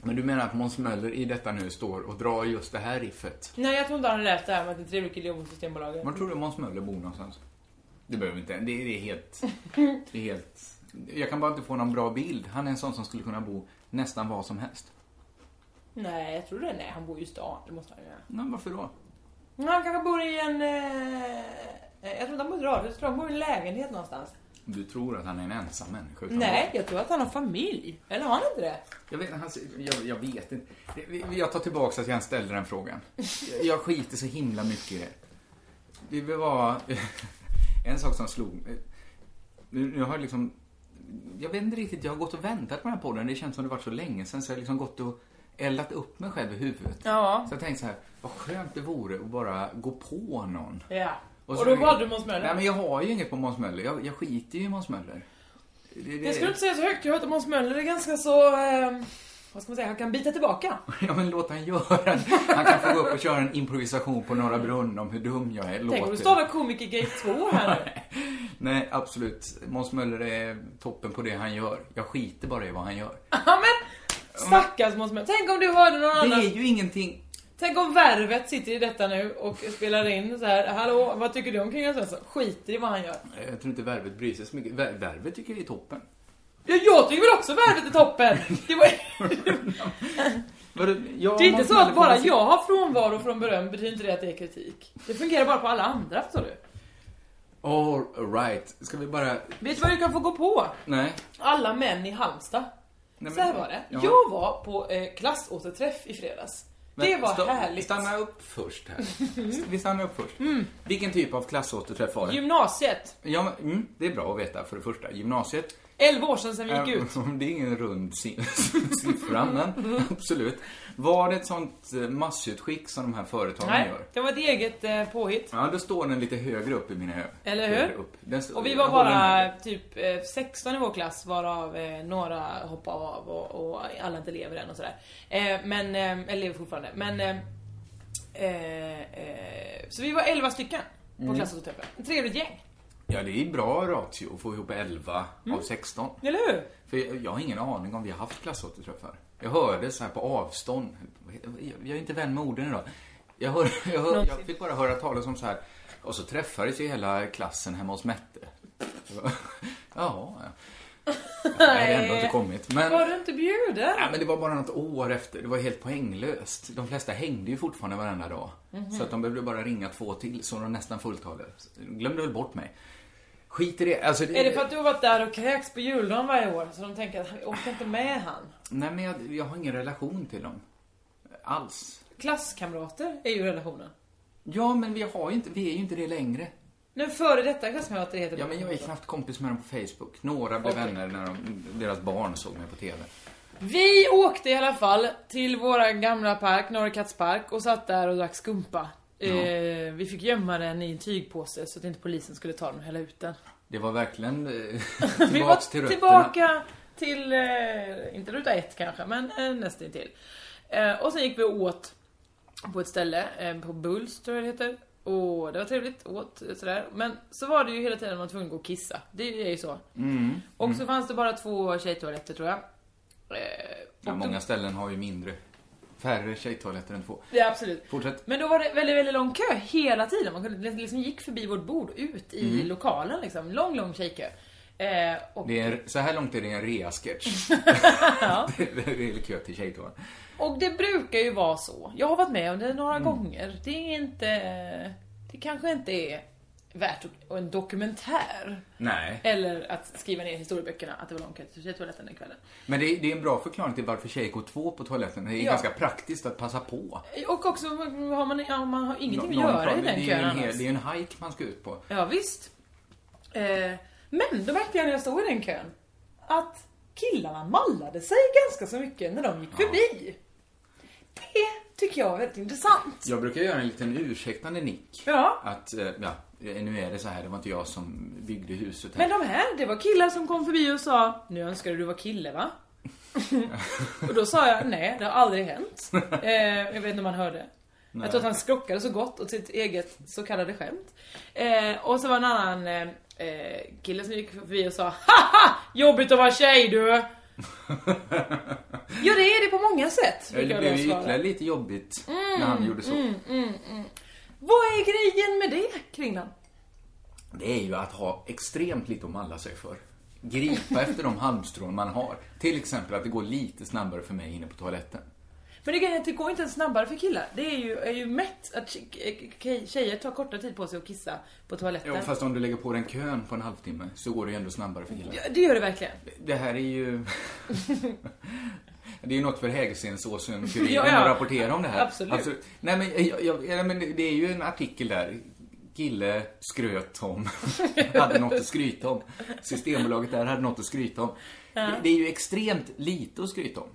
S8: Men du menar att Måns Möller i detta nu står och drar just det här riffet?
S9: Nej jag tror inte han har läst det här med att en trevlig kille jobbar på Systembolaget.
S8: Var tror du Måns Möller bor någonstans? Det behöver vi inte. Det, det är helt... Det är helt... Jag kan bara inte få någon bra bild. Han är en sån som skulle kunna bo nästan var som helst.
S9: Nej, jag tror det. Nej, han bor ju i stan. Det måste han ju göra.
S8: Men varför då?
S9: Men Han kanske bor i en... Eh, jag tror inte han bor i ett radhus. Jag tror han bor i en lägenhet någonstans.
S8: Du tror att han är en ensam människa? utan
S9: Nej, jag tror att han har familj. Eller har han inte det?
S8: Jag vet, han, jag, jag vet inte. Det- Jag tar tillbaka att jag ens ställde den frågan. Jag- Jag skiter så himla mycket i det. Det vill vara en sak som slog mig. Nu nu har jag liksom... Jag vet inte riktigt, jag har gått och väntat på den här podden. Det känns som det varit så länge sedan så jag har liksom gått och eldat upp mig själv i huvudet.
S9: Ja.
S8: Så jag tänkte så här, vad skönt det vore att bara gå på någon.
S9: Ja. Och,
S8: så-
S9: då valde du Måns Möller.
S8: Nej men jag har ju inget på Måns Möller. Jag, jag skiter ju i Måns Möller. Det- det-
S9: Jag skulle inte säga så högt. Jag hörde att Måns Möller är ganska så... Eh, vad ska man säga? Han kan bita tillbaka.
S8: Ja men låt han göra det. Han kan få gå upp och köra en improvisation på Norra Brunn om hur dum jag är.
S9: Tänk om du
S8: låter.
S9: stavar komikergate 2 här nu.
S8: Nej, absolut. Måns Möller är toppen på det han gör. Jag skiter bara i vad han gör.
S9: Ja men! Stackars Måns Möller. Tänk om du hörde någon
S8: Det
S9: annan.
S8: är ju ingenting...
S9: Tänk om Värvet sitter i detta nu och spelar in så här. Hallå, vad tycker du om Kringlan Svensson? Skiter i vad han gör.
S8: Jag tror inte Värvet bryr sig så mycket. Vär- Värvet tycker jag är toppen.
S9: Ja, jag tycker väl också värvet är toppen! Det, var,
S8: Vadå? Ja,
S9: det är inte
S8: Måns
S9: så att
S8: Möller
S9: bara
S8: borde-
S9: jag har frånvaro från beröm betyder inte det att det är kritik. Det fungerar bara på alla andra, förstår du.
S8: All right. Ska vi bara...
S9: Vet du vad du kan få gå på?
S8: Nej.
S9: Alla män i Halmstad.
S8: Nej
S9: Så här var det.
S8: Ja.
S9: Jag var på eh, klassåterträff i fredags.
S8: Men
S9: det var
S8: sta-
S9: härligt. Mm.
S8: Stanna upp först här. Vi stannar upp först. Vilken typ av klassåterträff var det?
S9: Gymnasiet.
S8: Ja, men, mm, det är bra att veta för det första. Gymnasiet.
S9: 11 år sedan, sedan vi gick ut.
S8: Eh, Det är ingen rund si- siffra, men absolut. Var det ett sånt eh, massutskick som de här företagen
S9: Nej,
S8: gör?
S9: det var ett eget eh, påhitt.
S8: Ja, då står den lite högre upp i mina ögon.
S9: Eller hur?
S8: Högre upp. Den står-
S9: Och vi var
S8: jag håller
S9: bara
S8: med dig.
S9: typ eh, 16 i vår klass varav eh, några hoppade av och, och alla inte lever än och sådär. Eh, Men, eh, eller lever fortfarande. Men, eh, eh, eh, så vi var 11 stycken på
S8: Mm.
S9: klassåterträffen. Ett trevligt gäng,
S8: Ja, det är bra ratio att få ihop 11 av 16.
S9: Mm. eller hur?
S8: För jag, jag har ingen aning om vi har haft klassåterträffar. Jag hörde så här på avstånd. Jag, jag är inte vän med orden idag. Jag, hör, jag, hör, jag fick bara höra talas om så här. Och så träffades ju hela klassen hemma hos Mette. Ja, ja. Jag hade ändå inte kommit. Men,
S9: Eh, Var du inte bjuden?
S8: nej, men det var bara något år efter. Det var helt poänglöst. De flesta hängde ju fortfarande varenda dag.
S9: Mhm.
S8: Så att de behövde bara ringa två till, så de nästan fulltaliga. De glömde väl bort mig. Skit i det. Alltså,
S9: Är det för att du har varit där och kräks på juldagen varje år så de tänker att vi orkar inte med han?
S8: Nej, men jag, jag har ingen relation till dem. Alls.
S9: Klasskamrater är ju relationen.
S8: Ja, men vi, har ju inte, vi är ju inte det längre.
S9: Men före detta klasskamrater heter
S8: Ja, men jag är knappt kompis med dem på Facebook. Några blev vänner när de, deras barn såg mig på TV.
S9: Vi åkte i alla fall till våra gamla park, Norrkatts park och satt där och drack skumpa. Eh, vi fick gömma den i en tygpåse så att inte polisen skulle ta den och hälla ut den.
S8: Det var verkligen eh,
S9: vi var
S8: tillbaks till rötterna.
S9: tillbaka till, eh, inte ruta ett kanske, men eh, nästan till. Eh, och sen gick vi och åt på ett ställe, eh, på Bulls tror jag det heter. Och det var trevligt, åt eh, sådär. Men så var det ju hela tiden man var tvungen att gå och kissa. Det är ju så.
S8: Mm.
S9: Och så fanns det bara två tjejtoaletter tror jag. Eh,
S8: Ja,
S9: och
S8: många ställen har ju mindre. Färre tjejtoaletter än två.
S9: Ja, absolut.
S8: Fortsätt.
S9: Men då var det väldigt, väldigt lång kö hela tiden. Man kunde liksom gick förbi vårt bord ut i
S8: Mm.
S9: lokalen liksom. Lång, lång tjejkö. Eh, och,
S8: Det är, så här långt är det en rea-sketch. det är det är kö till tjejtoan.
S9: och det brukar ju vara så. Jag har varit med om det några
S8: Mm.
S9: gånger. Det är inte... Det kanske inte är värt att- en dokumentär.
S8: Nej.
S9: Eller att skriva ner i historieböckerna att det var lång kö till tjejtoaletten den kvällen.
S8: Men det är, det är en bra förklaring till varför tjejer går två på toaletten. Det är
S9: Ja.
S8: ganska praktiskt att passa på.
S9: Och också, har man, ja, man har ingenting
S8: Nå-
S9: att
S8: någon
S9: göra i
S8: pratar-
S9: den
S8: det är ju
S9: kön
S8: en, hel-
S9: annars.
S8: Det är en hike man ska ut på.
S9: Ja, visst. Eh, men då märkte jag när jag stod i den kön att killarna mallade sig ganska så mycket när de gick förbi. Det tycker jag är väldigt intressant.
S8: Jag brukar göra en liten ursäktande nick.
S9: Ja.
S8: Att, eh, ja, eh, nu är det så här, det var inte jag som byggde huset här.
S9: Men de här, det var killar som kom förbi och sa Nu önskar du du var kille va? och då sa jag nej, det har aldrig hänt. Eh, jag vet inte om han hörde. Jag tror att han skrockade så gott åt sitt eget så kallade skämt. Eh, och så var det en annan eh, eh, kille som gick förbi och sa Haha! Jobbigt att vara tjej du! ja det är det på många sätt.
S8: Ja, det
S9: brukar jag Mm,
S8: blev
S9: då
S8: ju
S9: svara.
S8: ytterligare lite jobbigt när han gjorde så.
S9: Vad är grejen med det Kringlan?
S8: Det är ju att ha extremt lite att malla sig för. Gripa efter de halmstrån man har. Till exempel att det går lite snabbare för mig inne på toaletten.
S9: Men det, grejen är att det går inte ens snabbare för killar. Det är ju, är ju mätt att tje- tjejer tar kortare tid på sig att kissa på toaletten.
S8: Ja, fast om du lägger på den kön på en halvtimme så går det ju ändå snabbare för killar.
S9: Ja, Det gör det verkligen.
S8: Det här är ju... det är ju något för Hägerstensåsen-kuriren
S9: Ja, ja.
S8: att rapportera om det här. Alltså,
S9: Absolut.
S8: Nej, men, eh, jag, jag, nej, men det är ju en artikel där. Gille skröt om, hade något att skryta om. Systembolaget där hade något att skryta om. Det, det är ju extremt lite att skryta om.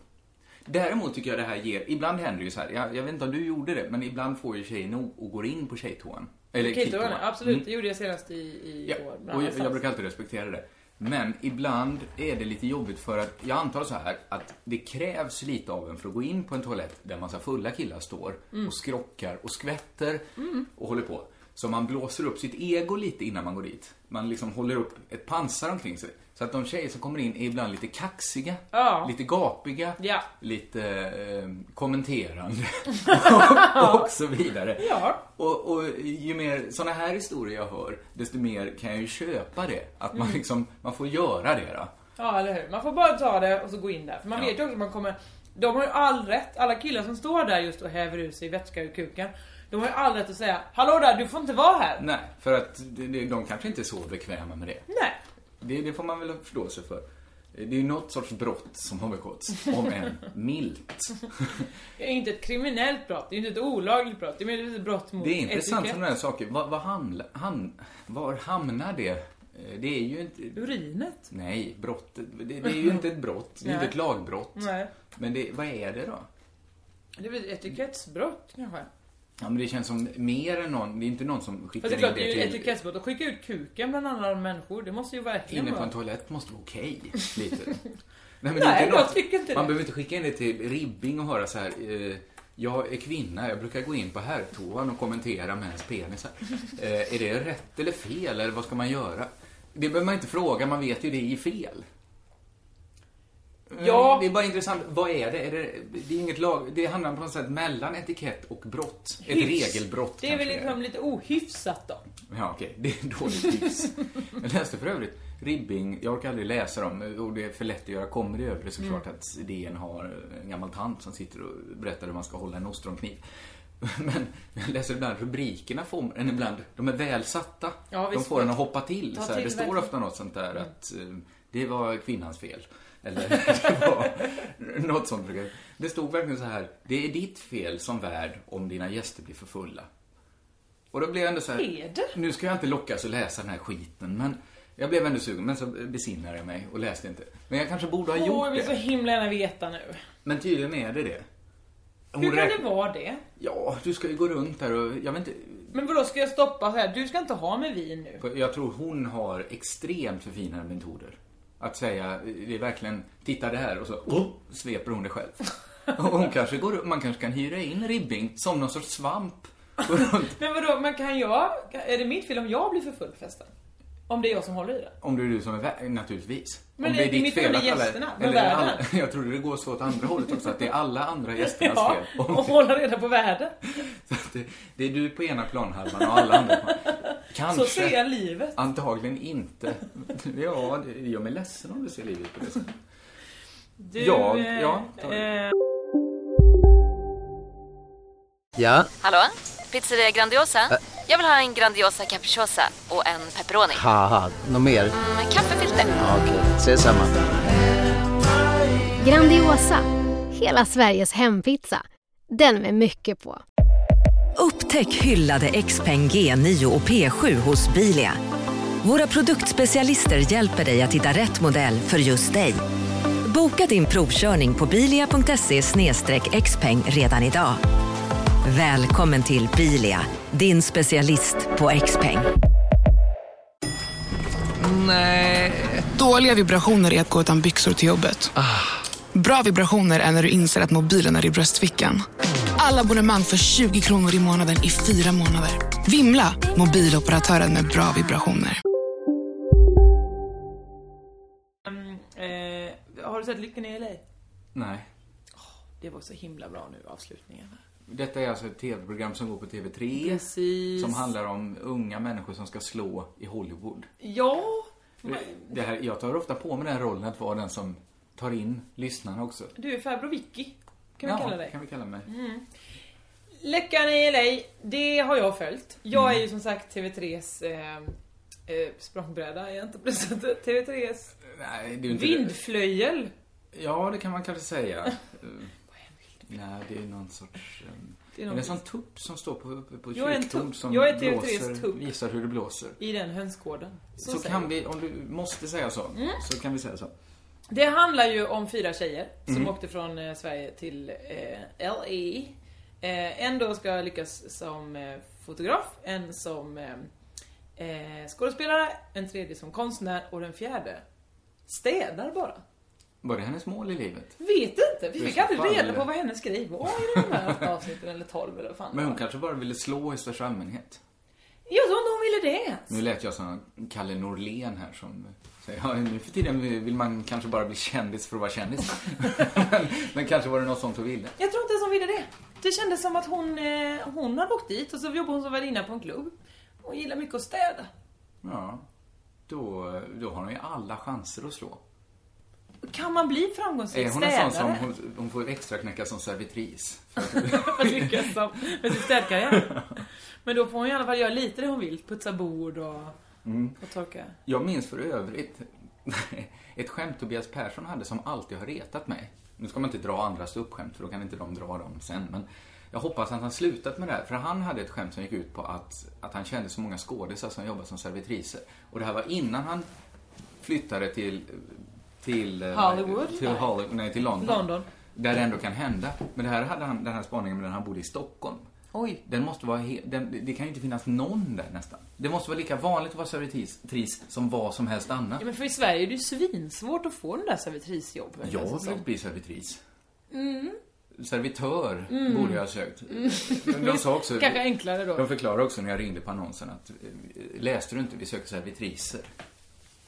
S8: Däremot tycker jag det här ger, ibland händer det ju så här, jag, jag vet inte om du gjorde det, men ibland får ju tjejer nog och går in på tjejtoan. Eller
S9: Killtoan,
S8: killtoan.
S9: absolut. Det gjorde jag senast i, i
S8: Mm. Ja,
S9: år. bland
S8: och
S9: annat.
S8: jag, jag brukar alltid respektera det. Men ibland är det lite jobbigt för att, jag antar så här, att det krävs lite av en för att gå in på en toalett där massa fulla killar står
S9: Mm.
S8: och skrockar och skvätter och håller på. Så man blåser upp sitt ego lite innan man går dit. Man liksom håller upp ett pansar omkring sig. Så att de tjejer som kommer in är ibland lite kaxiga,
S9: Ja.
S8: lite gapiga,
S9: Ja.
S8: lite eh, kommenterande och, och så vidare.
S9: Ja.
S8: Och, och ju mer sådana här historier jag hör, desto mer kan jag ju köpa det. Att
S9: Mm.
S8: man liksom, man får göra det då.
S9: Ja, eller hur. Man får bara ta det och så gå in där. För man
S8: Ja.
S9: vet ju också att man kommer... De har ju all rätt, alla killar som står där just och häver ur sig vätska ur kuken. De har ju all rätt att säga Hallå där, du får inte vara här.
S8: Nej, för att det- det- de kanske inte är så bekväma med det.
S9: Nej.
S8: Det, det får man väl förstå sig för. Det är ju något sorts brott som har begåtts, om än milt.
S9: Det är inte ett kriminellt brott, det är inte ett olagligt brott. Det är mer ett brott mot
S8: Det är intressant
S9: etikett.
S8: sådana här saker. Var, var, hamn, hamn, var hamnar det Eh, Det är ju inte...
S9: Urinet?
S8: Nej, brottet. Det, det är ju inte ett brott. Det är ju inte ett
S9: Nej.
S8: lagbrott.
S9: Nej.
S8: Men det, vad är det då?
S9: Det är väl ett etikettsbrott kanske?
S8: Ja, men det känns som mer än någon. Det är inte någon som skickar
S9: Fast det är
S8: in
S9: klart, det är ju
S8: det
S9: ett
S8: till...
S9: etikettsbrott att skicka ut kuken bland alla de människor. Det måste ju verkligen
S8: Inne på en
S9: vara...
S8: toalett måste vara okej. lite. Nej, men det är
S9: Nej,
S8: inte
S9: jag
S8: något-
S9: tycker inte
S8: Man
S9: det.
S8: behöver inte skicka in det till Ribbing och höra så här. Eh, jag är kvinna, jag brukar gå in på herrtoan och kommentera mäns penisar. Eh, är det rätt eller fel, eller vad ska man göra? Det behöver man inte fråga, man vet ju det är fel. Mm,
S9: Ja.
S8: Det är bara intressant, vad är det? Är det, det, är inget lag, det handlar på något sätt mellan etikett och brott. Ett
S9: Hyfs.
S8: regelbrott
S9: Det är väl
S8: kanske
S9: liksom lite ohyfsat då.
S8: Ja, okej. Det är dåligt tips. Jag läste för övrigt Ribbing, jag orkar aldrig läsa dem och det är för lätt att göra comedy över det såklart
S9: Mm.
S8: att DN har en gammal tant som sitter och berättar hur man ska hålla en ostronkniv. Men jag läser ibland rubrikerna får en ibland, de är väl satta.
S9: Ja,
S8: de
S9: visst.
S8: får en att hoppa till.
S9: Ta
S8: Så här,
S9: till
S8: det står
S9: verkligen. Mm.
S8: ofta något sånt där att eh, det var kvinnans fel. Eller det var något sånt. brukar- Det stod verkligen så här, det är ditt fel som värd om dina gäster blir för fulla. Och då blev jag ändå så här,
S9: Är det?
S8: nu ska jag inte lockas att läsa den här skiten, men jag blev ändå sugen, men så besinnade jag mig och läste inte. Men jag kanske borde ha gjort
S9: Åh, jag vill så
S8: det.
S9: himla gärna veta nu.
S8: Men tydligen är det det. Hon
S9: Hur kan
S8: räkn-
S9: det vara det?
S8: Ja, du ska ju gå runt här och, jag vet inte,
S9: Men vadå, ska jag stoppa så här? Du ska inte ha med vin nu.
S8: för jag tror hon har extremt förfinade metoder. Att säga, det är verkligen, titta det här och så oh, sveper hon det själv. Och hon kanske går, man kanske kan hyra in Ribbing som någon sorts svamp. Gå runt.
S9: Men vadå, men kan jag... Är det mitt fel om jag blir för full på festen? Om det är jag som håller i den?
S8: Om det är du som är värd, naturligtvis.
S9: Men
S8: om
S9: det är inte mitt fel, det är gästerna, men
S8: eller
S9: värden.
S8: alla, Jag trodde det går så åt andra hållet också, att det är alla andra gästernas
S9: Ja,
S8: fel.
S9: och hålla reda på världen.
S8: Så att det, det är du på ena planhalvan och alla andra på Kanske.
S9: Så ser jag livet.
S8: Antagligen inte. Ja, det gör mig ledsen om du ser livet på det sättet.
S9: Du,
S8: Ja,
S9: eh,
S8: ja, ta det.
S9: eh,
S10: Ja,
S4: Hallå? Pizzeria Grandiosa? Jag vill ha en Grandiosa capriciosa och en pepperoni.
S10: haha, något mer?
S4: Med kaffefilter.
S10: Ja, Okej, ses samma.
S11: Grandiosa, hela Sveriges hempizza. Den med mycket på.
S12: Upptäck hyllade XPeng G9 och P7 hos Bilia. Våra produktspecialister hjälper dig att hitta rätt modell för just dig. Boka din provkörning på bilia.se xpeng redan idag. Välkommen till Bilia, din specialist på XPeng.
S10: Dåliga vibrationer är att gå utan byxor till jobbet. Bra vibrationer är när du inser att mobilen är i bröstfickan. Alla abonnemang för 20 kronor i månaden i fyra månader. Vimla! Mobiloperatören med bra vibrationer.
S9: eh, har du sett Lyckan i LA?
S8: Nej.
S9: Det var så himla bra nu, avslutningen.
S8: Detta är alltså ett tv-program som går på TV3.
S9: Precis.
S8: Som handlar om unga människor som ska slå i Hollywood.
S9: Ja,
S8: Det här, jag tar ofta på mig den här rollen att vara den som tar in lyssnarna också.
S9: du är farbror Vicky. Kan vi
S8: ja,
S9: kalla dig. Mm.
S8: kan vi kalla mig.
S9: Läckan i LA, det har jag följt. Jag är ju
S8: Mm.
S9: som sagt TV3s eh, eh, språngbräda, är jag inte på det sättet. TV3s
S8: Nej, det är ju inte
S9: vindflöjel.
S8: Ja, det kan man kanske säga. Eh, Nej, det är någon sorts... ehm,
S9: Det är
S8: är,
S9: någon
S8: det en sån
S9: sorts-
S8: tupp som står på, uppe på
S9: Jag är en
S8: kyrktorn
S9: tupp.
S8: som
S9: Jag är teoretisk
S8: blåser,
S9: tupp.
S8: visar hur det blåser?
S9: I den hönsgården.
S8: Så,
S9: säger
S8: kan
S9: jag. Mm.
S8: vi, om du måste säga så, så kan vi säga så.
S9: Det handlar ju om fyra tjejer som
S8: Mm.
S9: åkte från eh, Sverige till eh, LA. Eh, en då ska lyckas som eh, fotograf, en som eh, eh, skådespelare, en tredje som konstnär och den fjärde städar bara.
S8: Var det hennes mål i livet?
S9: Vet inte, vi
S8: Det är
S9: fick
S8: så
S9: aldrig
S8: fan,
S9: reda
S8: eller?
S9: på vad hennes grej var i de här åtta avsnitten eller tolv eller vad fan det
S8: Men hon
S9: var.
S8: kanske bara ville slå i största allmänhet.
S9: Jag tror inte hon ville det ens.
S8: Nu lät jag som Kalle Norlén här som säger, ja, nu för tiden vill man kanske bara bli kändis för att vara kändis. men, men kanske var det något sånt hon ville.
S9: Jag tror inte ens hon ville det. Det kändes som att hon, eh, hon hade åkt dit och så jobbade hon som värdinna på en klubb. Hon gillar mycket att städa.
S8: Ja, då, då har hon ju alla chanser att slå.
S9: Kan man bli
S8: Är
S9: framgångsrik
S8: hon en sån som
S9: städare?
S8: hon, hon får extra knäcka som servitris?
S9: För att lyckas som, med sin städkarriär. Men då får hon i alla fall göra lite det hon vill. Putsa bord och,
S8: Mm.
S9: och torka.
S8: Jag minns för övrigt ett skämt Tobias Persson hade som alltid har retat mig. Nu ska man inte dra andras uppskämt för då kan inte de dra dem sen. Men Jag hoppas att han slutat med det här, för han hade ett skämt som gick ut på att, att han kände så många skådisar som jobbade som servitriser. Och det här var innan han flyttade till... till eh,
S9: Hollywood?
S8: Till, Hollywood, nej, till London.
S9: London.
S8: Där det ändå kan hända. Men det här hade han, den här spaningen med när han bodde i Stockholm.
S9: Oj.
S8: Den måste vara he- den, det kan ju inte finnas någon där nästan. Det måste vara lika vanligt att vara servitris som vad som helst annat.
S9: Ja, men för i Sverige är det ju svinsvårt att få den där servitrisjobben.
S8: Jag
S9: känns det
S8: har
S9: som.
S8: velat bli servitris.
S9: alltså. Mm.
S8: Servitör
S9: Mm.
S8: borde jag ha sökt.
S9: Mm.
S8: De sa också...
S9: Kanske enklare då.
S8: De förklarade också när jag ringde på annonsen att eh, läste du inte, vi söker servitriser.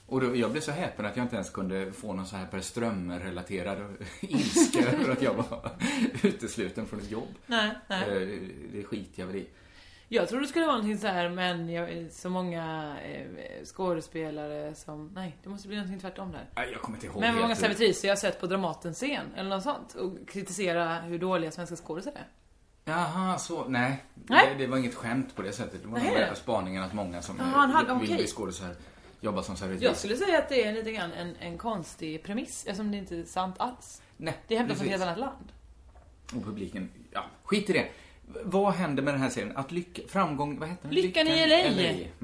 S8: Och då, jag blev så häpen att jag inte ens kunde få någon så här Per Strömmer-relaterad ilska över att jag var utesluten från ett jobb.
S9: Nej, nej.
S8: Eh, Det skiter jag väl i.
S9: Jag tror det skulle vara någonting så här, men jag, så många eh, skådespelare som... Nej, det måste bli någonting tvärtom där.
S8: Nej, jag kommer inte ihåg
S9: Men hur många
S8: helt hur-
S9: servitriser jag har sett på Dramatens scen eller något sånt och kritisera hur dåliga svenska skådisar är.
S8: Jaha, så. Nej.
S9: Nej.
S8: Det, det var inget skämt på det sättet. Det var
S9: Nej.
S8: den där spaningen att många som
S9: Jaha, han hade-
S8: eh, vill bli
S9: okej.
S8: skådisar jobbar som servitris.
S9: Jag skulle säga att det är lite grann en, en konstig premiss eftersom det inte är sant alls.
S8: Nej,
S9: det är hämtat från ett
S8: precis.
S9: helt annat land.
S8: Och publiken, ja, skit i det. V- Vad händer med den här serien? Att lycka, framgång, vad heter den?
S9: Lyckan i LA.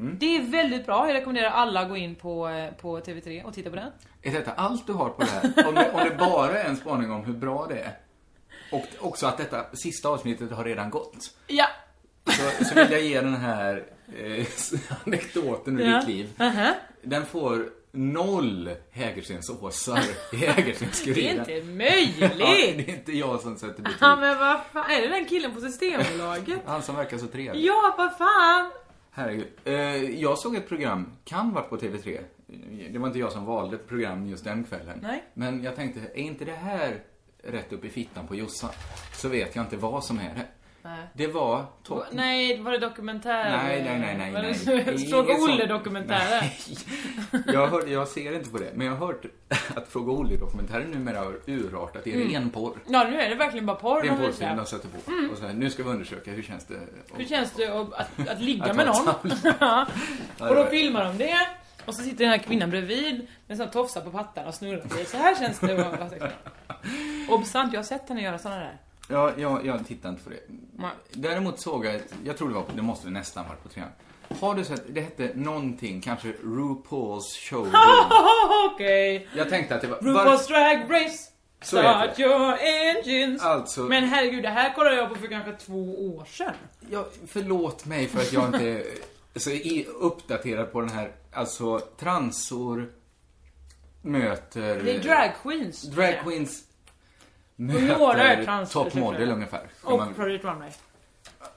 S8: Mm.
S9: Det är väldigt bra. Jag rekommenderar alla att gå in på, eh, på TV3 och titta på den.
S8: Är detta allt du har på det här? Om det, om det bara är en spaning om hur bra det är. Och också att detta sista avsnittet har redan gått.
S9: Ja.
S8: Så, så vill jag ge den här eh, anekdoten ur
S9: Ja.
S8: ditt liv.
S9: Aha.
S8: Den får noll Hägerstensåsar i Hägerstenskuriden.
S9: Det är inte möjligt.
S8: Ja, det är inte jag som sätter betyg.
S9: Ja men vad fan, är det den killen på Systembolaget?
S8: Han som verkar så trevlig.
S9: ja, vad fan!
S8: Herregud. Eh, jag såg ett program, kan varit på TV3. Det var inte jag som valde program just den kvällen.
S9: Nej.
S8: Men jag tänkte, är inte det här rätt upp i fittan på Jossan? Så vet jag inte vad som är det.
S9: Nej.
S8: Det var topp...
S9: Nej, var det dokumentär?
S8: Nej, nej, nej, nej,
S9: Var det-
S8: nej.
S9: Fråga
S8: Inget sånt.
S9: Olle-dokumentären.
S8: Jag, hörde, jag ser inte på det, men jag har hört att Fråga Olle-dokumentären numera har urartat i
S9: Mm.
S8: ren porr.
S9: Ja, nu är det verkligen bara porr
S8: Det är en alltså.
S9: de visar.
S8: porrfilm de sätter på.
S9: Mm.
S8: Och så här, nu ska vi undersöka hur känns det?
S9: Hur känns det att, att, att ligga
S8: Att
S9: med
S8: vara
S9: någon? Ja.
S8: Ja,
S9: och då
S8: det-
S9: filmar de det. Och så sitter den här kvinnan bredvid med sån tofsar på pattarna och snurrar sig. Så här känns det att vara lasexsnål. Obstant, jag har sett henne göra såna där.
S8: Ja, jag, jag tittar inte på det.
S9: Nej.
S8: Däremot såg jag ett, jag tror det var, det måste nästan varit på trean. Har du sett, det hette någonting, kanske RuPaul's showroom.
S9: Okej.
S8: Jag tänkte att det var...
S9: RuPaul's Drag Race.
S8: Så heter
S9: Start
S8: det.
S9: your engines.
S8: Alltså-
S9: Men herregud, det här kollade jag på för kanske två år sedan.
S8: Ja, förlåt mig för att jag inte är så i- uppdaterad på den här, alltså transor möter...
S9: Det är drag queens.
S8: Drag queens
S9: några är
S8: möter
S9: trans-
S8: top model
S9: ursäkta.
S8: ungefär. Ska
S9: Och
S8: man-
S9: Project Runway.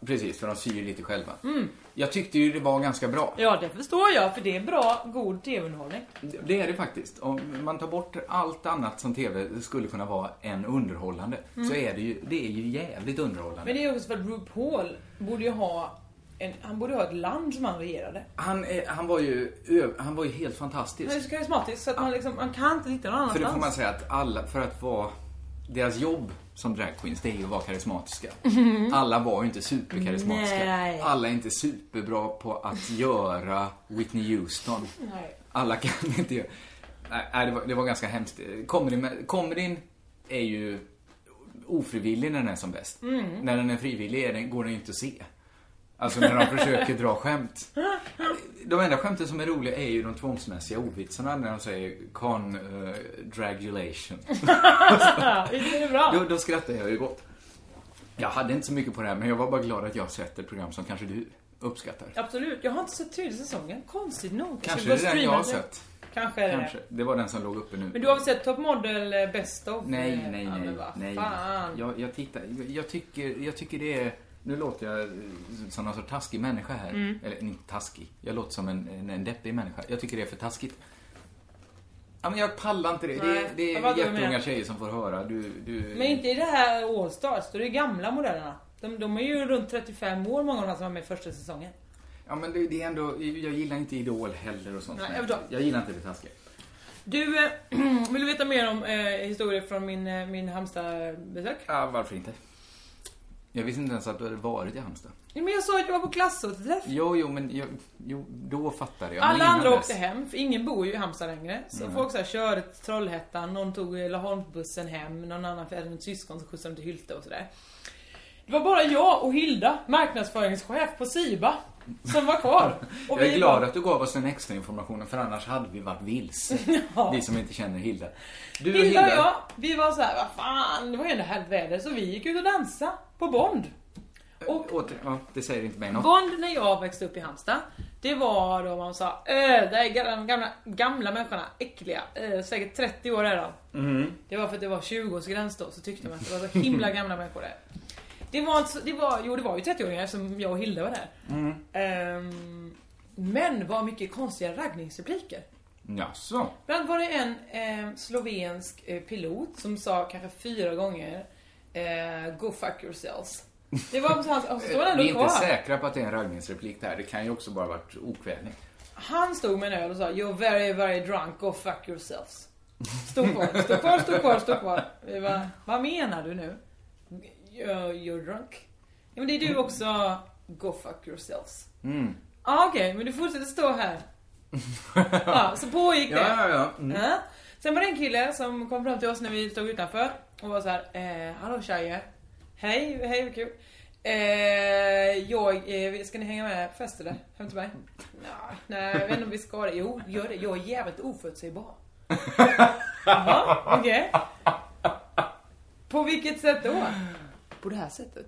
S8: Precis, för de syr lite själva.
S9: Mm.
S8: Jag tyckte ju det var ganska bra.
S9: Ja, det förstår jag, för det är bra, god TV-underhållning.
S8: Det är det faktiskt. Om man tar bort allt annat som TV skulle kunna vara än underhållande,
S9: Mm.
S8: så är det ju, det är ju jävligt underhållande.
S9: Men det är också för att RuPaul borde ju ha en, han borde ha ett land som han regerade.
S8: han, är, han, var ju, ö- han var ju helt
S9: Han är
S8: fantastisk.
S9: så karismatisk så att man liksom, man kan inte titta någon
S8: För
S9: annanstans.
S8: det får man säga att alla, för att vara, deras jobb som dragqueens, det är ju att vara karismatiska.
S9: Mhm.
S8: Alla var ju inte superkarismatiska.
S9: Nej.
S8: Alla är inte superbra på att göra Whitney Houston.
S9: Nej.
S8: Alla kan inte göra. Nej, nej, det var, det var ganska hemskt. Comedyn, comedyn är ju ofrivillig när den är som bäst.
S9: Mm.
S8: När den är frivillig är den, går den ju inte att se. Alltså när de försöker dra skämt. De enda skämten som är roliga är ju de tvångsmässiga ordvitsarna när de säger con eh, dragulation.
S9: Visst är det bra?
S8: Då, då skrattar jag ju gott. Jag hade inte så mycket på det här men jag var bara glad att jag sett ett program som kanske du uppskattar.
S9: Absolut. Jag har inte sett tredje säsongen, konstigt nog. Jag
S8: Kanske
S9: ska gå
S8: det
S9: och
S8: är den jag har
S9: streama det.
S8: sett.
S9: Kanske är det
S8: Kanske.
S9: det.
S8: Det var den som låg uppe nu.
S9: Men du har väl sett Top Model eh, Best of?
S8: Nej,
S9: Eh,
S8: nej,
S9: ja,
S8: nej.
S9: men vad
S8: nej.
S9: Fan.
S8: Jag, jag tittar. Jag, jag, tycker, jag tycker det är... Nu låter jag eh, som någon sorts taskig människa här.
S9: Mm.
S8: Eller inte taskig. Jag låter som en, en, en deppig människa. Jag tycker det är för taskigt. Ja, men jag pallar inte det. Det,
S9: Nej,
S8: det
S9: jag
S8: är
S9: fattar vad du
S8: jätteunga
S9: menar.
S8: tjejer som får höra. Du, du,
S9: Men inte i det här Allstars, då är det gamla modellerna. De, de är ju runt 35 år många av de här som var med i första säsongen.
S8: Ja, men det, det är ändå... Jag gillar inte Idol heller och sånt.
S9: Nej,
S8: som
S9: jag
S8: är-
S9: förstår.
S8: jag gillar inte det taskiga.
S9: Du, eh, vill du veta mer om eh, historier från min, eh, min Halmstadbesök?
S8: Ja, varför inte? Jag visste inte ens att du hade varit i Halmstad.
S9: Ja, Men jag sa att jag var på klassåterträff.
S8: Jo, jo, men jag, jo, då fattade jag. Men
S9: Alla
S8: innan
S9: andra
S8: dess-
S9: åkte hem, för ingen bor ju i Halmstad längre. Så
S8: Nej.
S9: folk så här körde till Trollhättan, någon tog eh, Laholmsbussen hem, någon annan för jag hade en syskon som skjutsade dem till Hylte och sådär. Det var bara jag och Hilda, marknadsföringschef på SIBA, som var kvar. Och
S8: Jag är
S9: vi-
S8: glad att du gav oss den extra informationen för annars hade vi varit vilse.
S9: Ja.
S8: Vi som inte känner Hilda. Du och
S9: Hilda och jag,
S8: Hilda,
S9: vi var så här, vad fan, det var ju ändå härligt väder, så vi gick ut och dansade på Bond.
S8: och... åter, ja, det säger inte mig något.
S9: Bond när jag växte upp i Halmstad, det var då man sa, äh, det är gamla- de gamla, gamla människorna, äckliga, äh, säkert 30 år är de.
S8: Mm.
S9: Det var för att det var 20-årsgräns då, så tyckte man att det var så himla gamla människor där. Det var, alltså, det var, jo det var ju 30-åringar eftersom jag och Hilda var där.
S8: Mm.
S9: Ehm, men vad mycket konstiga raggningsrepliker.
S8: Jaså?
S9: Bland annat var det en eh, slovensk eh, pilot som sa kanske fyra gånger eh, Go fuck yourselves. Det var så hans, och så
S8: Vi
S9: stod han
S8: är
S9: ändå
S8: inte
S9: kvar.
S8: säkra på att det är en raggningsreplik det här. Det kan ju också bara varit okvädning.
S9: Han stod med en öl och sa You're very very drunk, go fuck yourselves. Stod kvar, stod kvar, stod kvar, stod kvar. Vi bara, vad menar du nu? You're, you're drunk? Ja men det är du också, go fuck yourselves.
S8: Mm.
S9: Ja okej, men du fortsätter stå här. ja, så pågick det.
S8: Ja, ja, ja. Mm.
S9: Ja. Sen var det en kille som kom fram till oss när vi stod utanför och var så här, eh, hallå tjejer. Hej, hej vad kul. Eh, jag, eh, ska ni hänga med fester där hem till mig? Nå, Nej, jag vet inte om vi ska det. Jo, gör det. Jag är jävligt oförutsägbar. Jaha, okej. På vilket sätt då? På det här sättet.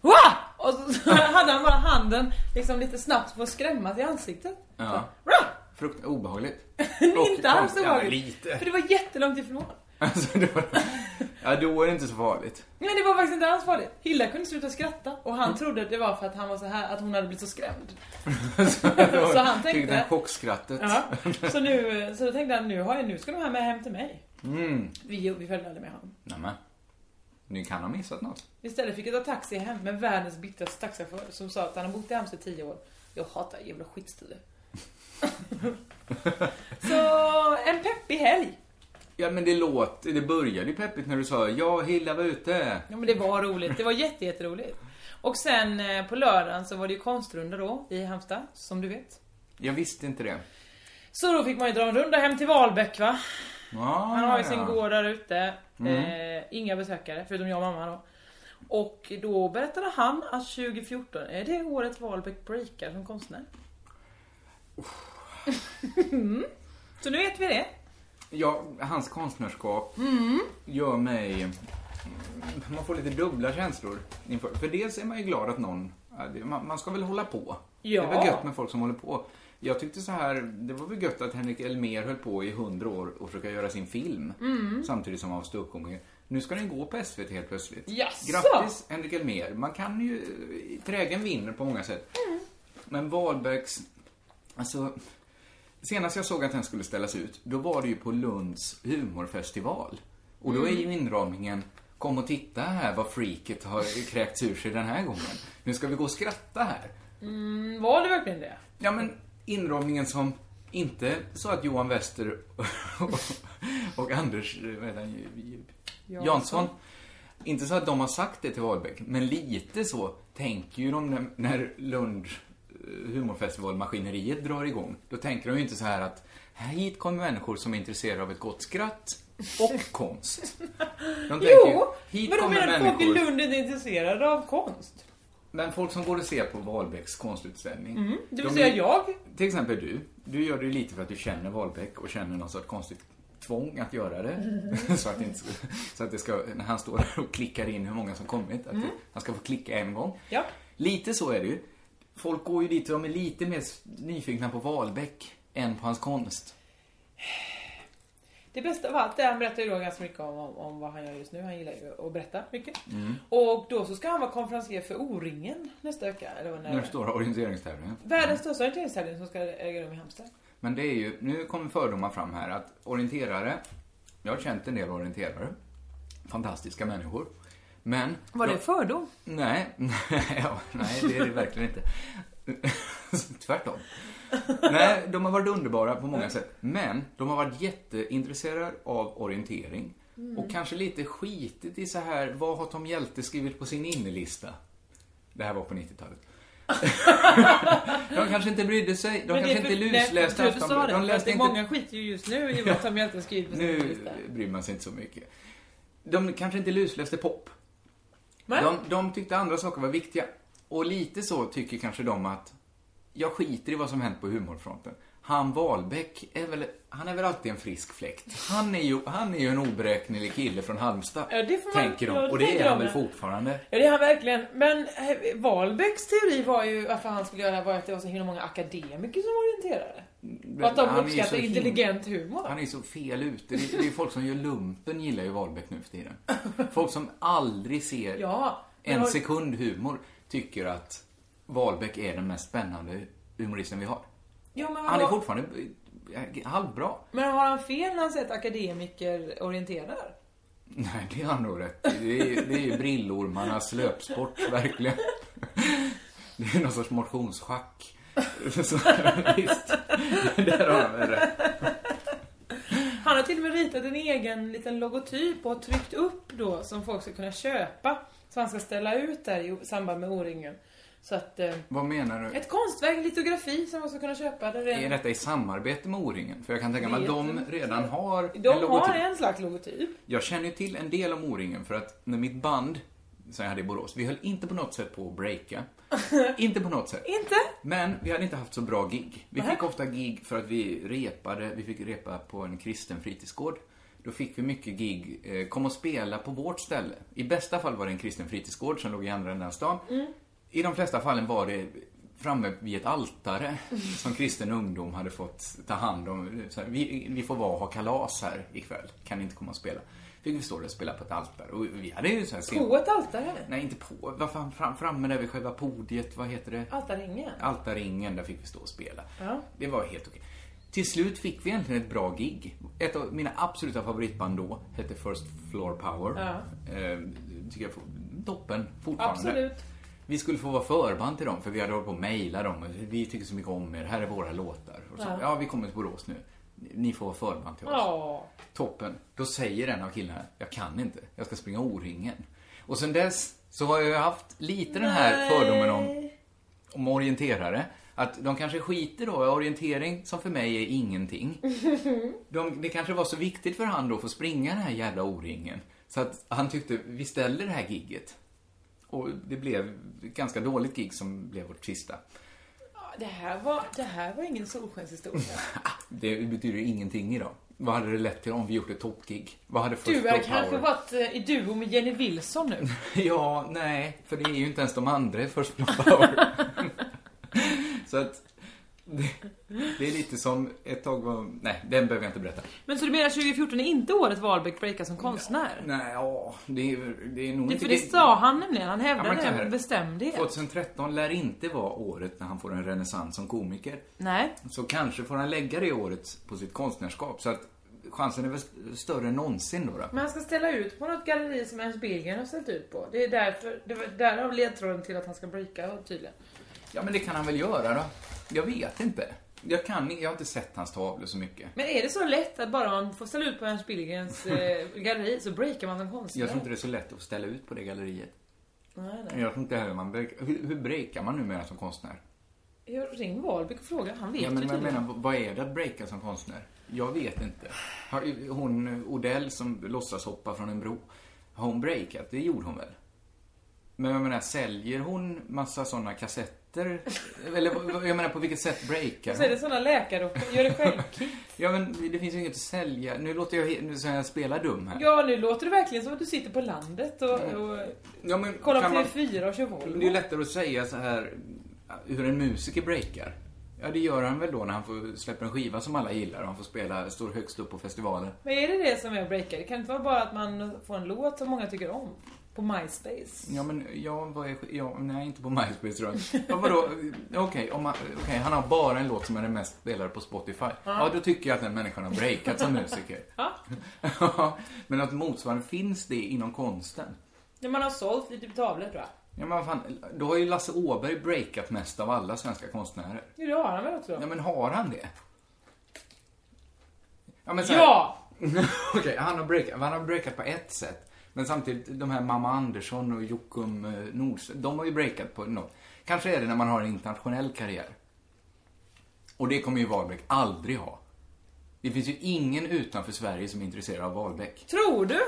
S9: Wah! Och så, så hade han bara handen liksom lite snabbt för att skrämmas i ansiktet.
S8: Ja.
S9: Rah!
S8: Frukt, obehagligt.
S9: Men inte
S8: Och-
S9: alls så
S8: ja, men
S9: farligt.
S8: lite.
S9: För det var jättelångt ifrån.
S8: Alltså, då, ja, då är det inte så farligt.
S9: Men det var faktiskt inte alls farligt. Hilda kunde sluta skratta och
S8: Mm.
S9: han trodde att det var för att han var så här att hon hade blivit så skrämd. Så han
S8: Fick det här
S9: tänkte...
S8: chockskrattet.
S9: Ja, så, nu, så då tänkte han nu, har jag, nu ska de här med hem till mig.
S8: Mm.
S9: Vi, vi följde aldrig med honom.
S8: Nämen. Nu kan ha missat något.
S9: Istället fick jag ta taxi hem med världens bittraste taxichaufför som sa att han har bott i Halmstad i tio år. Jag hatar jävla skitstilar. så en peppig helg.
S8: Ja men det låter, det började ju peppigt när du sa ja Hilla var ute.
S9: Ja men det var roligt, det var jätte, jätteroligt. Och sen eh, på lördagen så var det ju konstrunda då i Halmstad, som du vet.
S8: Jag visste inte det.
S9: Så då fick man ju dra en runda hem till Wahlbeck va?
S8: Ah,
S9: Han har ju sin gård där ute.
S8: Mm.
S9: Eh, inga besökare, förutom jag och mamma då. Och då berättade han att 2014 är det året Wahlbeck breakar som konstnär. mm. Så nu vet vi det.
S8: Ja, hans konstnärskap
S9: Mm.
S8: gör mig... Man får lite dubbla känslor. Inför. För dels är man ju glad att någon... ja, det- Man man ska väl hålla på.
S9: Ja.
S8: Det är väl gött med folk som håller på. Jag tyckte så här, det var väl gött att Henrik Elmer höll på i hundra år och försöka göra sin film.
S9: Mm.
S8: Samtidigt som han var ståuppkomiker. Nu ska den gå på SVT helt plötsligt.
S9: Jaså?
S8: Grattis Henrik Elmer. Man kan ju... Trägen vinner på många sätt. Men Wahlbergs... Alltså... Senast jag såg att den skulle ställas ut, då var det ju på Lunds humorfestival. Och då är ju inramningen Kom och titta här vad freaket har kräkts ur sig den här gången. Nu ska vi gå och skratta här.
S9: Mm, var det verkligen det?
S8: Ja, men inramningen som inte så att Johan Wester och, och Anders eh, vad heter han, Ju- Ju-
S9: Jansson.
S8: Jansson, inte så att de har sagt det till Wahlbeck, men lite så tänker ju de när, när Lund eh, humorfestivalmaskineriet drar igång. Då tänker de ju inte så här att här hit kommer människor som är intresserade av ett gott skratt och konst. De tänker ju,
S9: Jo!
S8: hit
S9: men då
S8: kommer
S9: menar du folk i
S8: människor.
S9: Lund inte är intresserade av konst?
S8: Men folk som går och ser på Wahlbecks konstutställning.
S9: Mm, det vill
S8: de
S9: säga
S8: är-
S9: jag.
S8: Till exempel du. Du gör det ju lite för att du känner Wahlbeck och känner någon sorts konstigt tvång att göra det.
S9: Mm.
S8: så, att det inte, ska- så att det ska, när han står där och klickar in hur många som kommit, att
S9: Mm.
S8: det, han ska få klicka en gång.
S9: Ja.
S8: Lite så är det ju. Folk går ju dit och de är lite mer s- nyfikna på Wahlbeck än på hans konst.
S9: Det bästa av allt är att han berättar ju då ganska mycket om, om, om vad han gör just nu. Han gillar ju att berätta mycket.
S8: Mm.
S9: Och då så ska han vara konferencier för O-ringen nästa vecka. Eller vad
S8: Den
S9: när
S8: stora orienteringstävlingen.
S9: Världens största orienteringstävling som ska äga rum i Halmstad.
S8: Men det är ju, nu kommer fördomar fram här att orienterare, jag har känt en del orienterare, fantastiska människor. Men...
S9: Var det
S8: de-
S9: fördom?
S8: Nej, nej, ja, nej, det är det verkligen inte. Tvärtom. Nej, de har varit underbara på många sätt. Men de har varit jätteintresserade av orientering.
S7: Mm.
S8: Och kanske lite skitit i så här, vad har Tom Hjälte skrivit på sin innelista? Det här var på 90-talet. de kanske inte brydde sig. De
S9: Men det är
S8: kanske inte
S9: för- nej,
S8: lusläste
S9: för att du sa
S8: Aftonbladet.
S9: det, för
S8: De
S9: att
S8: läste
S9: det är
S8: inte
S9: Många skiter ju just nu i vad som egentligen skrivs på sin
S8: nu
S9: lista.
S8: bryr man sig inte så mycket. De kanske inte lusläste pop. De, de tyckte andra saker var viktiga. Och lite så tycker kanske de att jag skiter i vad som hänt på humorfronten. Han Wahlbeck är väl, han är väl alltid en frisk fläkt. Han är ju, han är ju en oberäknelig kille från Halmstad.
S9: Ja, det får man-
S8: tänker de.
S9: ja, det
S8: och det
S9: tänker
S8: är han
S9: de.
S8: väl fortfarande.
S9: Ja det är han verkligen. Men eh, Wahlbecks teori var ju varför han skulle göra det här var att det var så himla många akademiker som var orienterade. Och att
S8: Mm, Han är
S9: de
S8: ju så
S9: uppskattar
S8: him-
S9: intelligent humor.
S8: Han är ju så fel ute. Det, det är folk som gör lumpen gillar ju Wahlbeck nu för tiden. Folk som aldrig ser
S9: Ja, men
S8: en
S9: har-
S8: sekund humor tycker att Wahlbeck är den mest spännande humoristen vi har.
S9: Ja, men
S8: Han är
S9: vad-
S8: fortfarande eh, halvbra.
S9: Men har han fel när han säger att akademiker orienterar?
S8: Nej, det har han nog rätt i. Det är, det är ju brillormarnas löpsport, verkligen. Det är någon sorts motionsschack. Så, visst, där har han väl rätt.
S9: Han har till och med ritat en egen liten logotyp och har tryckt upp då som folk ska kunna köpa. Så han ska ställa ut där i samband med O-ringen. Så att... Eh,
S8: Vad menar du?
S9: ett konstverk, en litografi som man ska kunna köpa. Där det
S8: Är detta i samarbete med O-ringen? För jag kan tänka mig att de
S9: Vet inte.
S8: redan har en
S9: De har
S8: logotyp.
S9: en slags logotyp.
S8: Jag känner ju till en del om O-ringen för att när mitt band som jag hade i Borås, vi höll inte på något sätt på att breaka. inte på något sätt.
S9: Inte?
S8: Men vi hade inte haft så bra gig. Vi fick ofta gig för att vi repade, vi fick repa på en kristen fritidsgård. Då fick vi mycket gig, eh, kom och spela på vårt ställe. I bästa fall var det en kristen fritidsgård som låg i andra änden av stan.
S9: Mm.
S8: I de flesta fallen var det framme vid ett altare som kristen ungdom hade fått ta hand om. Så här, vi, vi får vara och ha kalas här ikväll, kan ni inte komma och spela? Fick vi stå där och spela på ett altare. Och vi hade ju så här scen-
S9: På ett altare?
S8: Nej, inte på. Vad fan, fram, framme där vid själva podiet, vad heter
S9: Alltså,
S8: det?
S9: Altarringen?
S8: Altarringen, där fick vi stå och spela.
S9: Ja.
S8: Det var helt okej. Till slut fick vi egentligen ett bra gig. Ett av mina absoluta favoritband då hette First Floor Power.
S9: Ja.
S8: Eh, tycker jag for- toppen fortfarande.
S9: Absolut.
S8: Vi skulle få vara förband till dem för vi hade hållit på och mejla dem. Vi tycker så mycket om er, här är våra låtar. Och så,
S9: Ja.
S8: ja. vi kommer till Borås nu. Ni får vara förband till oss.
S9: Ja.
S8: Toppen. Då säger en av killarna, jag kan inte, jag ska springa O-ringen. Och sen dess så har jag haft lite den här
S9: Nej.
S8: fördomen om, om orienterare. Att de kanske skiter då i orientering som för mig är ingenting. De, det kanske var så viktigt för han då att få springa den här jävla O-ringen. Så att han tyckte, vi ställer det här gigget. Och det blev ett ganska dåligt gig som blev vårt sista.
S9: Det här var, det här var ingen solskenshistoria.
S8: Det betyder ju ingenting idag. Vad hade det lett till om vi gjort ett toppgig? Vad hade First
S9: Du
S8: Floor
S9: har kanske
S8: Power-
S9: varit eh, i duo med Jenny Wilson nu.
S8: Ja, nej, för det är ju inte ens de andra i First Blood Power. så att det, det är lite som ett tag var... Nej, den behöver jag inte berätta.
S9: Men så du menar 2014 är inte året Wahlbeck breakar som konstnär?
S8: Nej, ja, det är, det är nog
S9: Det,
S8: inte...
S9: för det sa han nämligen, han
S8: Ja,
S9: hävdade
S8: men så
S9: det
S8: här,
S9: med bestämdhet.
S8: 2013 lär inte vara året när han får en renässans som komiker.
S9: Nej.
S8: Så kanske får han lägga det året på sitt konstnärskap. Så att chansen är väl större än någonsin då. då.
S9: Men han ska ställa ut på något galleri som Ernst Billgren har ställt ut på. Det är därför, det var därav ledtråden till att han ska breaka tydligen.
S8: Ja, men det kan han väl göra då? Jag vet inte. Jag kan jag har inte sett hans tavlor så mycket.
S9: Men är det så lätt att bara man får ställa ut på Ernst Billgrens eh, galleri så breakar man som konstnär?
S8: Jag tror inte det är så lätt att ställa ut på det galleriet.
S9: Nej, nej.
S8: Jag tror inte heller man break, hur, hur breakar man numera som konstnär?
S9: Jag Ring Wahlbeck och fråga, han vet
S8: ja,
S9: ju
S8: men jag
S9: tydligen.
S8: menar, vad är det att breaka som konstnär? Jag vet inte. Har, hon Odell som låtsas hoppa från en bro, har hon breakat? Det gjorde hon väl? Men jag menar, säljer hon massa sådana kassetter? Eller vad- vad- jag menar, på vilket sätt breakar
S9: Så är det
S8: hon?
S9: såna läkare och gör det själv
S8: Ja, men det finns ju inget att sälja. Nu låter jag, he- nu så jag spelar dum här.
S9: Ja, nu låter det verkligen som att du sitter på landet och, och
S8: Ja, men
S9: kollar på
S8: kan man-
S9: TV4 och kör Volvo.
S8: Det är ju lättare att säga så här hur en musiker breakar. Ja, det gör han väl då när han får, släpper en skiva som alla gillar och han får spela, står högst upp på festivaler.
S9: Men är det det som är breakar? Det kan inte vara bara att man får en låt som många tycker om? På MySpace?
S8: Ja, men ja, vad är, ja, nej, inte på MySpace tror jag. Ja, vadå? Okej, om han- okej, han har bara en låt som är den mest spelade på Spotify. Ja, då tycker jag att den människan har breakat som musiker.
S9: Ja.
S8: Ja, men något motsvarande, finns det inom konsten?
S9: När man har sålt lite tavlor tror jag.
S8: Ja, men vad fan, då har ju Lasse Åberg breakat mest av alla svenska konstnärer.
S9: Jo, det har han väl också?
S8: Ja, men har han det? Ja! Men så här-
S9: ja!
S8: Okej, han, har breakat, han har breakat på ett sätt. Men samtidigt, de här Mamma Andersson och Jockum eh, Nordström, de har ju breakat på något. Kanske är det när man har en internationell karriär. Och det kommer ju Wahlbeck aldrig ha. Det finns ju ingen utanför Sverige som är intresserad av Wahlbeck.
S9: Tror du?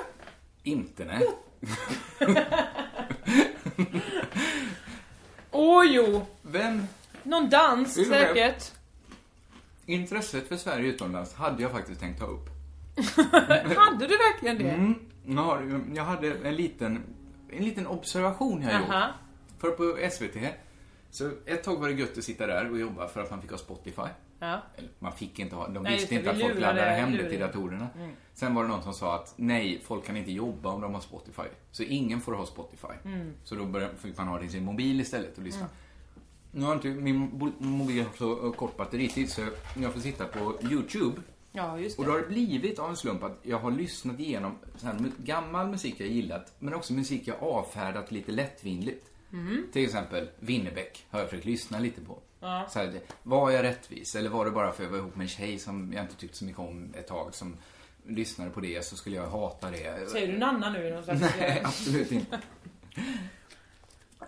S8: Inte, nej.
S9: Åh jo!
S8: Vem?
S9: Någon dans
S8: Ur-
S9: säkert.
S8: Intresset för Sverige utomlands hade jag faktiskt tänkt ta upp.
S9: Hade du verkligen det?
S8: Mm. Jag har- Jag hade en liten, en liten observation jag gjort.
S9: Aha.
S8: För på SVT, så ett tag var det gött att sitta där och jobba för att man fick ha Spotify.
S9: Ja.
S8: Eller, man fick inte ha, de
S9: Nej, just
S8: visste
S9: det,
S8: inte att
S9: vi
S8: folk
S9: lurade-
S8: laddade hem det till
S9: lurade.
S8: datorerna.
S9: Mm.
S8: Sen var det någon som sa att nej, folk kan inte jobba om de har Spotify. Så ingen får ha Spotify.
S9: Mm.
S8: Så då började, fick man ha det i sin mobil istället och lyssna.
S9: Mm.
S8: Nu har inte min bo- mobil har så kort batteritid så jag får sitta på YouTube.
S9: Ja, just det.
S8: Och då har det blivit av en slump att jag har lyssnat igenom så här, mu- gammal musik jag gillat, men också musik jag avfärdat lite lättvindigt.
S9: Mm.
S8: Till exempel Winnerbäck har jag försökt lyssna lite på.
S9: Ja.
S8: Så här, var jag rättvis eller var det bara för att jag var ihop med en tjej som jag inte tyckte så mycket om ett tag som lyssnade på det så skulle jag hata det.
S9: Säger du Nanna nu i någon slags...
S8: Nej, absolut inte.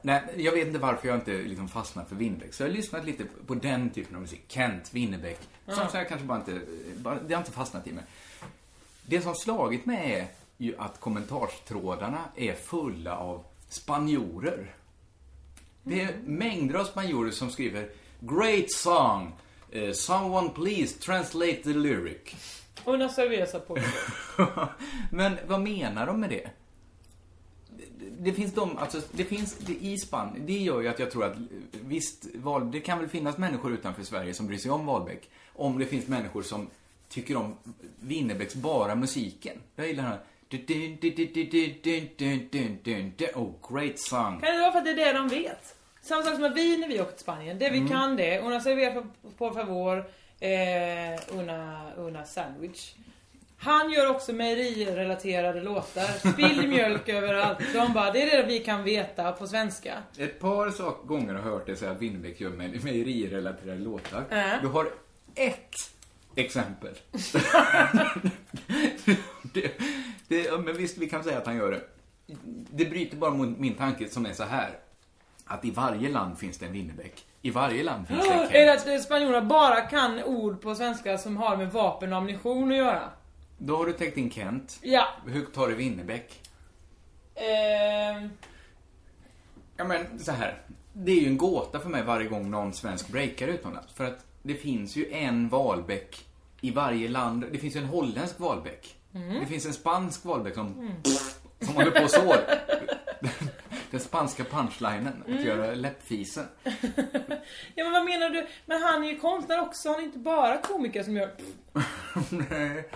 S8: Nej, jag vet inte varför jag inte liksom fastnar för Winnerbäck. Så jag har lyssnat lite på den typen av musik. Kent, Winnerbäck.
S9: Ja.
S8: Som så jag kanske bara inte, bara, det har inte fastnat i mig. Det som slagit mig är ju att kommentarstrådarna är fulla av spanjorer. Det är mängder av spanjorer som skriver “Great song! Eh, someone please translate the lyric”.
S9: Una cerveza på.
S8: Men vad menar de med det? Det- Det finns de, alltså det finns det i Spanien, det gör ju att jag tror att eh, visst, val, det kan väl finnas människor utanför Sverige som bryr sig om Wahlbeck. Om det finns människor som tycker om Winnerbäcks bara musiken. Jag gillar den här. du- du- du- du- du- du- du- du- du- du- du- Oh, great song.
S9: Kan det vara för att det är det de vet? Samma sak som att vi när vi åkte till Spanien. Det vi
S8: Mm.
S9: kan det. Una cerveza por favor. Eh, una, una sandwich. Han gör också mejerirelaterade låtar. Spill mjölk överallt. De bara, det är det vi kan veta på svenska.
S8: Ett par sak, gånger har jag hört dig säga att Winnerbäck gör me- mejerirelaterade låtar.
S9: Äh.
S8: Du har ett exempel. det, det, ja, men visst, vi kan säga att han gör det. Det bryter bara mot min tanke som är så här. Att i varje land finns det en Winnerbäck. I varje land finns det en
S9: Är
S8: Kent.
S9: det att eh, spanjorerna bara kan ord på svenska som har med vapen och ammunition att göra?
S8: Då har du täckt in Kent.
S9: Ja.
S8: Hur högt tar du Winnerbäck?
S9: Ehm,
S8: Ja men så här. Det är ju en gåta för mig varje gång någon svensk breakar utomlands. För att det finns ju en Wahlbeck i varje land. Det finns ju en holländsk Wahlbeck.
S9: Mm.
S8: Det finns en spansk Wahlbeck som,
S9: Mm.
S8: som håller på så. Den spanska punchlinen, att
S9: Mm.
S8: göra läppfisen.
S9: ja men vad menar du? Men han är ju konstnär också. Han är inte bara komiker som gör...
S8: Nej.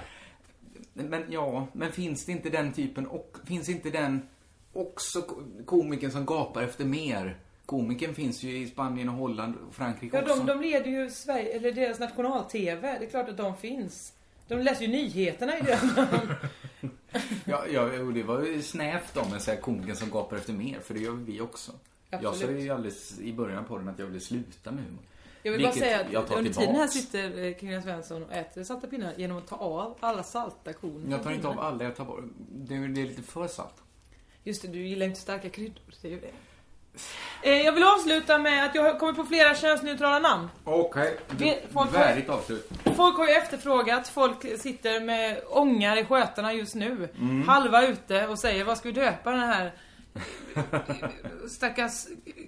S8: men ja, men finns det inte den typen och finns inte den också ko- komikern som gapar efter mer? Komikern finns ju i Spanien och Holland och Frankrike
S9: Ja,
S8: också.
S9: de, de leder ju Sverige, eller deras national-TV. Det är klart att de finns. De läser ju nyheterna i deras namn.
S8: Ja, ja, och det var ju snävt om en så här komikern som gapar efter mer, för det gör vi också. Jag sa
S9: Absolut.
S8: ju alldeles i början på den att jag ville sluta med humor.
S9: Jag vill
S8: Vilket
S9: bara säga att
S8: jag tar
S9: under tiden
S8: tillbaks.
S9: här sitter eh, Kristina Svensson och äter salta pinnar genom att ta av alla salta korn.
S8: Jag tar inte av alla, jag tar bara... Det är det är lite för salt.
S9: Just det, du gillar inte starka kryddor. Det är ju det. Eh, jag vill avsluta med att jag har kommit på flera könsneutrala namn.
S8: Okej,
S9: Det- folk-
S8: värdigt avslut.
S9: Folk har ju efterfrågat, folk sitter med ångar i skötarna just nu.
S8: Mm.
S9: Halva ute och säger vad ska vi döpa den här stackars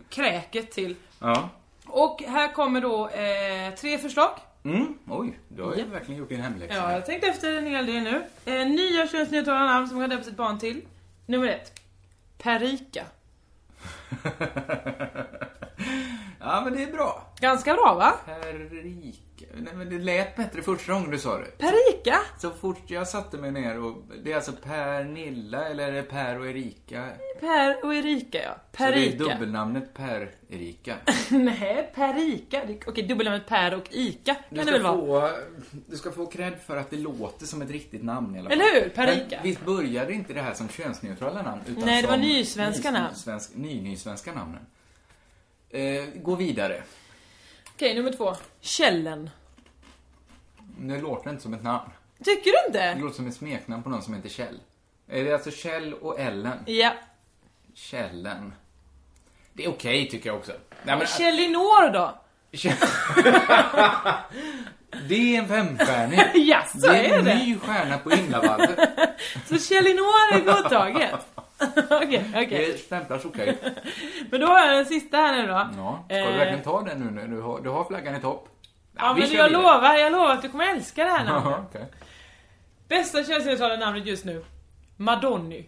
S9: kräket till?
S8: Ja.
S9: Och här kommer då eh, tre förslag.
S8: Mm, oj, du har ju
S9: Ja.
S8: verkligen gjort din hemläxa.
S9: Ja, jag tänkte efter en hel del nu. Eh, nya könsneutrala namn som man kan döpa sitt barn till. Nummer ett. Perika.
S8: ja, men det är bra.
S9: Ganska bra va?
S8: Perika. Nej, men det lät bättre första gången du sa det.
S9: Perika?
S8: Så fort jag satte mig ner och... Det är alltså Pernilla, eller är det Per och Erika?
S9: Per och Erika ja.
S8: Så det är
S9: Perika.
S8: dubbelnamnet Per-Erika.
S9: Nej, Perika. Det- Okej, dubbelnamnet Per och Ika
S8: Du
S9: kan det
S8: ska,
S9: väl vara?
S8: få, du ska få cred för att det låter som ett riktigt namn i alla fall.
S9: Eller hur? Perika.
S8: Men visst började inte det här som könsneutrala namn? Utan
S9: Nej, det var
S8: som
S9: nysvenska
S8: nys-
S9: namn.
S8: nysvensk- Ny-nysvenska namnen. Eh, gå vidare.
S9: Okej, nummer två. Källen.
S8: Det låter inte som ett namn.
S9: Tycker du inte?
S8: Det låter som ett smeknamn på någon som heter Kjell. Eh, Det är alltså Kjell och Ellen.
S9: Ja.
S8: Källen. Det är okej tycker jag också. Nej, men,
S9: Källinor då?
S8: det är en femstjärning.
S9: Ja, så
S8: det är
S9: är
S8: en
S9: det.
S8: ny stjärna på Inlavallen.
S9: Så Källinor är godtaget. Okej, okej.
S8: Det stämplas okej.
S9: Men då har jag den sista här nu då.
S8: Ja, ska du
S9: Eh,
S8: verkligen ta den nu när du har, du har flaggan i topp?
S9: Ja,
S8: vi
S9: men
S8: kör
S9: jag
S8: vidare.
S9: lovar, jag lovar att du kommer älska det här namnet.
S8: Ja, okej.
S9: Bästa könsneutrala namnet just nu. Madonny.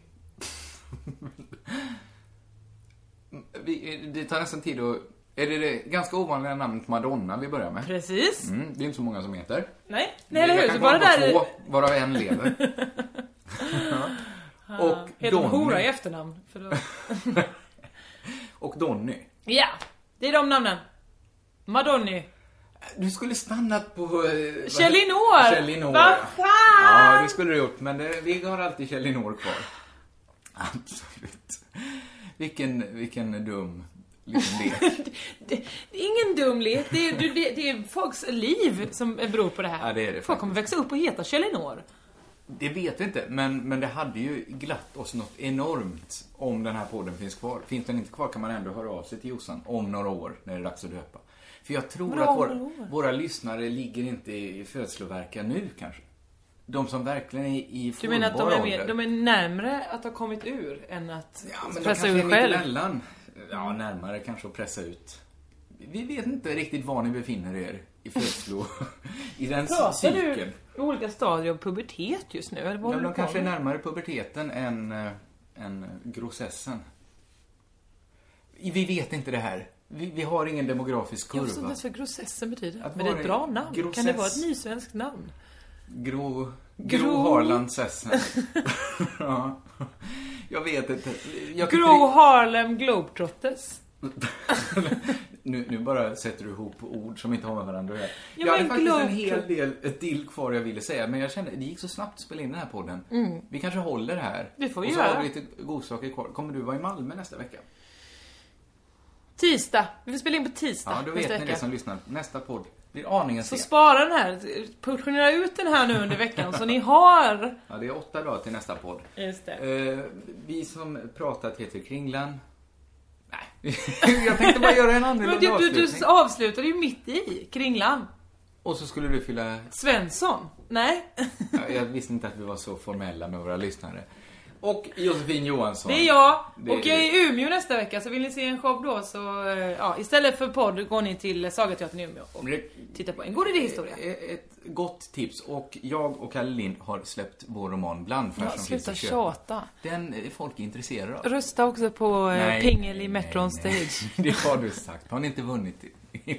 S8: Vi, eh, det tar nästan tid att... Är det det ganska ovanliga namnet Madonna vi börjar med?
S9: Precis.
S8: Mm, det är inte så många som heter.
S9: Nej, nej eller hur?
S8: Jag
S9: Så
S8: kan
S9: bara
S8: bara
S9: där...
S8: två, varav en lever.
S9: Ah,
S8: och
S9: Heter hon
S8: Donny.
S9: hora i efternamn? För då...
S8: och Donny.
S9: ja, det är de namnen. Madonny.
S8: Du skulle stannat på... eh, vad heter-
S9: Kjellinor!
S8: Kjellinor,
S9: Vad
S8: ja.
S9: fan!
S8: Ja, det skulle du gjort, men det, vi har alltid Kjellinor kvar. Absolut. Vilken, vilken dum liten lek.
S9: Det är ingen dum lek, det är, du- det, det är folks liv som beror på det här.
S8: Ja, det är det
S9: Folk kommer växa upp och heta Kjellinor.
S8: Det vet vi inte, men, men det hade ju glatt oss något enormt om den här podden finns kvar. Finns den inte kvar kan man ändå höra av sig till Jossan om några år när det är dags att döpa. För jag tror
S9: Vadå
S8: att
S9: om
S8: våra,
S9: några år?
S8: våra lyssnare ligger inte i födslovärkan nu kanske. De som verkligen är i
S9: Du menar att de
S8: formbar
S9: är,
S8: ålder.
S9: mer, de är närmre att ha kommit ur än att
S8: Ja, men
S9: pressa
S8: de
S9: ur
S8: kanske är mitt
S9: själv?
S8: emellan. Ja, närmare kanske att pressa ut. Vi vet inte riktigt var ni befinner er i födslo... I den
S9: Pratar du
S8: cykeln.
S9: i olika stadier av pubertet just nu? Eller vad
S8: Ja,
S9: håller
S8: de
S9: du på
S8: kanske är
S9: med?
S8: närmare puberteten än, eh, än grossessen. Vi vet inte det här. Vi, vi har ingen demografisk
S9: Jag förstår inte
S8: kurva.
S9: ens vad grossessen betyder.
S8: Att
S9: men det är
S8: vara
S9: ett
S8: i
S9: bra namn. Kan det
S8: grossess.
S9: vara ett nysvenskt namn?
S8: Gro...
S9: Gro-
S8: Gro Harlandsessen. ja. Jag vet inte. Jag kan
S9: Gro
S8: inte-
S9: Harlem Globetrotters.
S8: nu, nu bara sätter du ihop ord som inte har med varandra att göra. jag
S9: Ja,
S8: hade
S9: men
S8: faktiskt en
S9: Globetrot-
S8: hel del ett till kvar jag ville säga, men jag kände det gick så snabbt att spela in den här podden.
S9: Mm.
S8: Vi kanske håller här.
S9: Det får vi
S8: Och så
S9: göra.
S8: har vi lite godsaker kvar. Kommer du vara i Malmö nästa vecka?
S9: Tisdag. Vi får spela in på tisdag
S8: Ja, då vet
S9: nästa
S8: ni det som lyssnar. Nästa podd blir aningen
S9: Så
S8: sen.
S9: spara den här. Portionera ut den här nu under veckan så ni har...
S8: Ja, det är åtta dagar till nästa podd.
S9: Just det.
S8: Eh, vi som pratat heter Kringlan. Nej, jag tänkte bara göra en
S9: Men
S8: annorlunda
S9: du, du,
S8: avslutning.
S9: du avslutade ju mitt i. Kringlan.
S8: Och så skulle du fylla
S9: Svensson. Nej,
S8: Ja, Jag visste inte att vi var så formella med våra lyssnare. Och Josefin Johansson.
S9: det är jag.
S8: Det-
S9: och jag är i Umeå nästa vecka så vill ni se en show då så... eh, Ja, istället för podd går ni till Sagateatern i Umeå och tittar på en god idéhistoria.
S8: Eh, Ett gott tips. Och jag och Kalle Lind har släppt vår roman Blandfärs
S9: Ja,
S8: som
S9: sluta
S8: finns att köpa.
S9: tjata.
S8: Den är folk intresserade av.
S9: Rösta också på eh,
S8: Nej,
S9: Pingel i
S8: nej,
S9: Metron
S8: nej.
S9: Stage.
S8: Det har du sagt. Har ni inte vunnit i-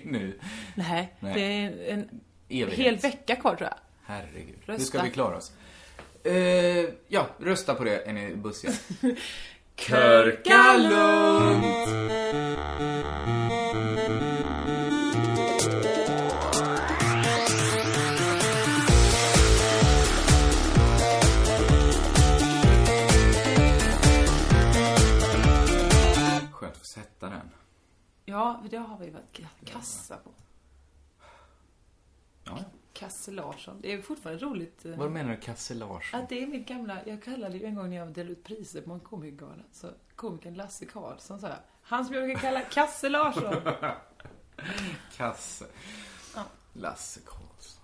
S8: nu?
S9: Nej,
S8: Nej.
S9: det är en
S8: Evighet.
S9: hel vecka kvar tror jag.
S8: Herregud. Hur ska
S9: Rösta.
S8: vi klara oss? Eh, ja, rösta på det. Är ni bussiga?
S9: Körka lugnt.
S8: Skönt att få sätta den.
S9: Ja, det har vi varit kassa på.
S8: Ja.
S9: Kasse Larsson. Det är fortfarande roligt. eh,
S8: Vad menar du, Kasse Larsson?
S9: Att det är mitt gamla, jag kallade ju en gång när jag delade ut priser på en komikergala, så komikern Lasse Karlsson sa jag. Han som jag brukar kalla Kasse Larsson.
S8: Kasse.
S9: Ja.
S8: Lasse Karlsson.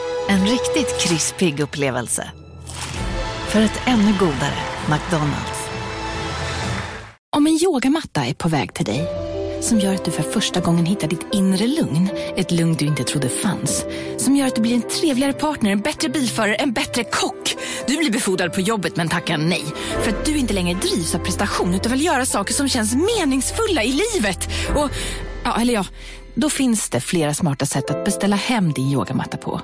S13: En riktigt krispig upplevelse. För ett ännu godare McDonalds.
S14: Om en yogamatta är på väg till dig, som gör att du för första gången hittar ditt inre lugn, ett lugn du inte trodde fanns, som gör att du blir en trevligare partner, en bättre bilförare, en bättre kock. Du blir befordrad på jobbet men tackar nej, för att du inte längre drivs av prestation utan vill göra saker som känns meningsfulla i livet. Och, ja, eller ja, då finns det flera smarta sätt att beställa hem din yogamatta på.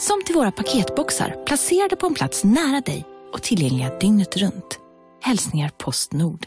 S14: Som till våra paketboxar placerade på en plats nära dig och tillgängliga dygnet runt. Hälsningar Postnord.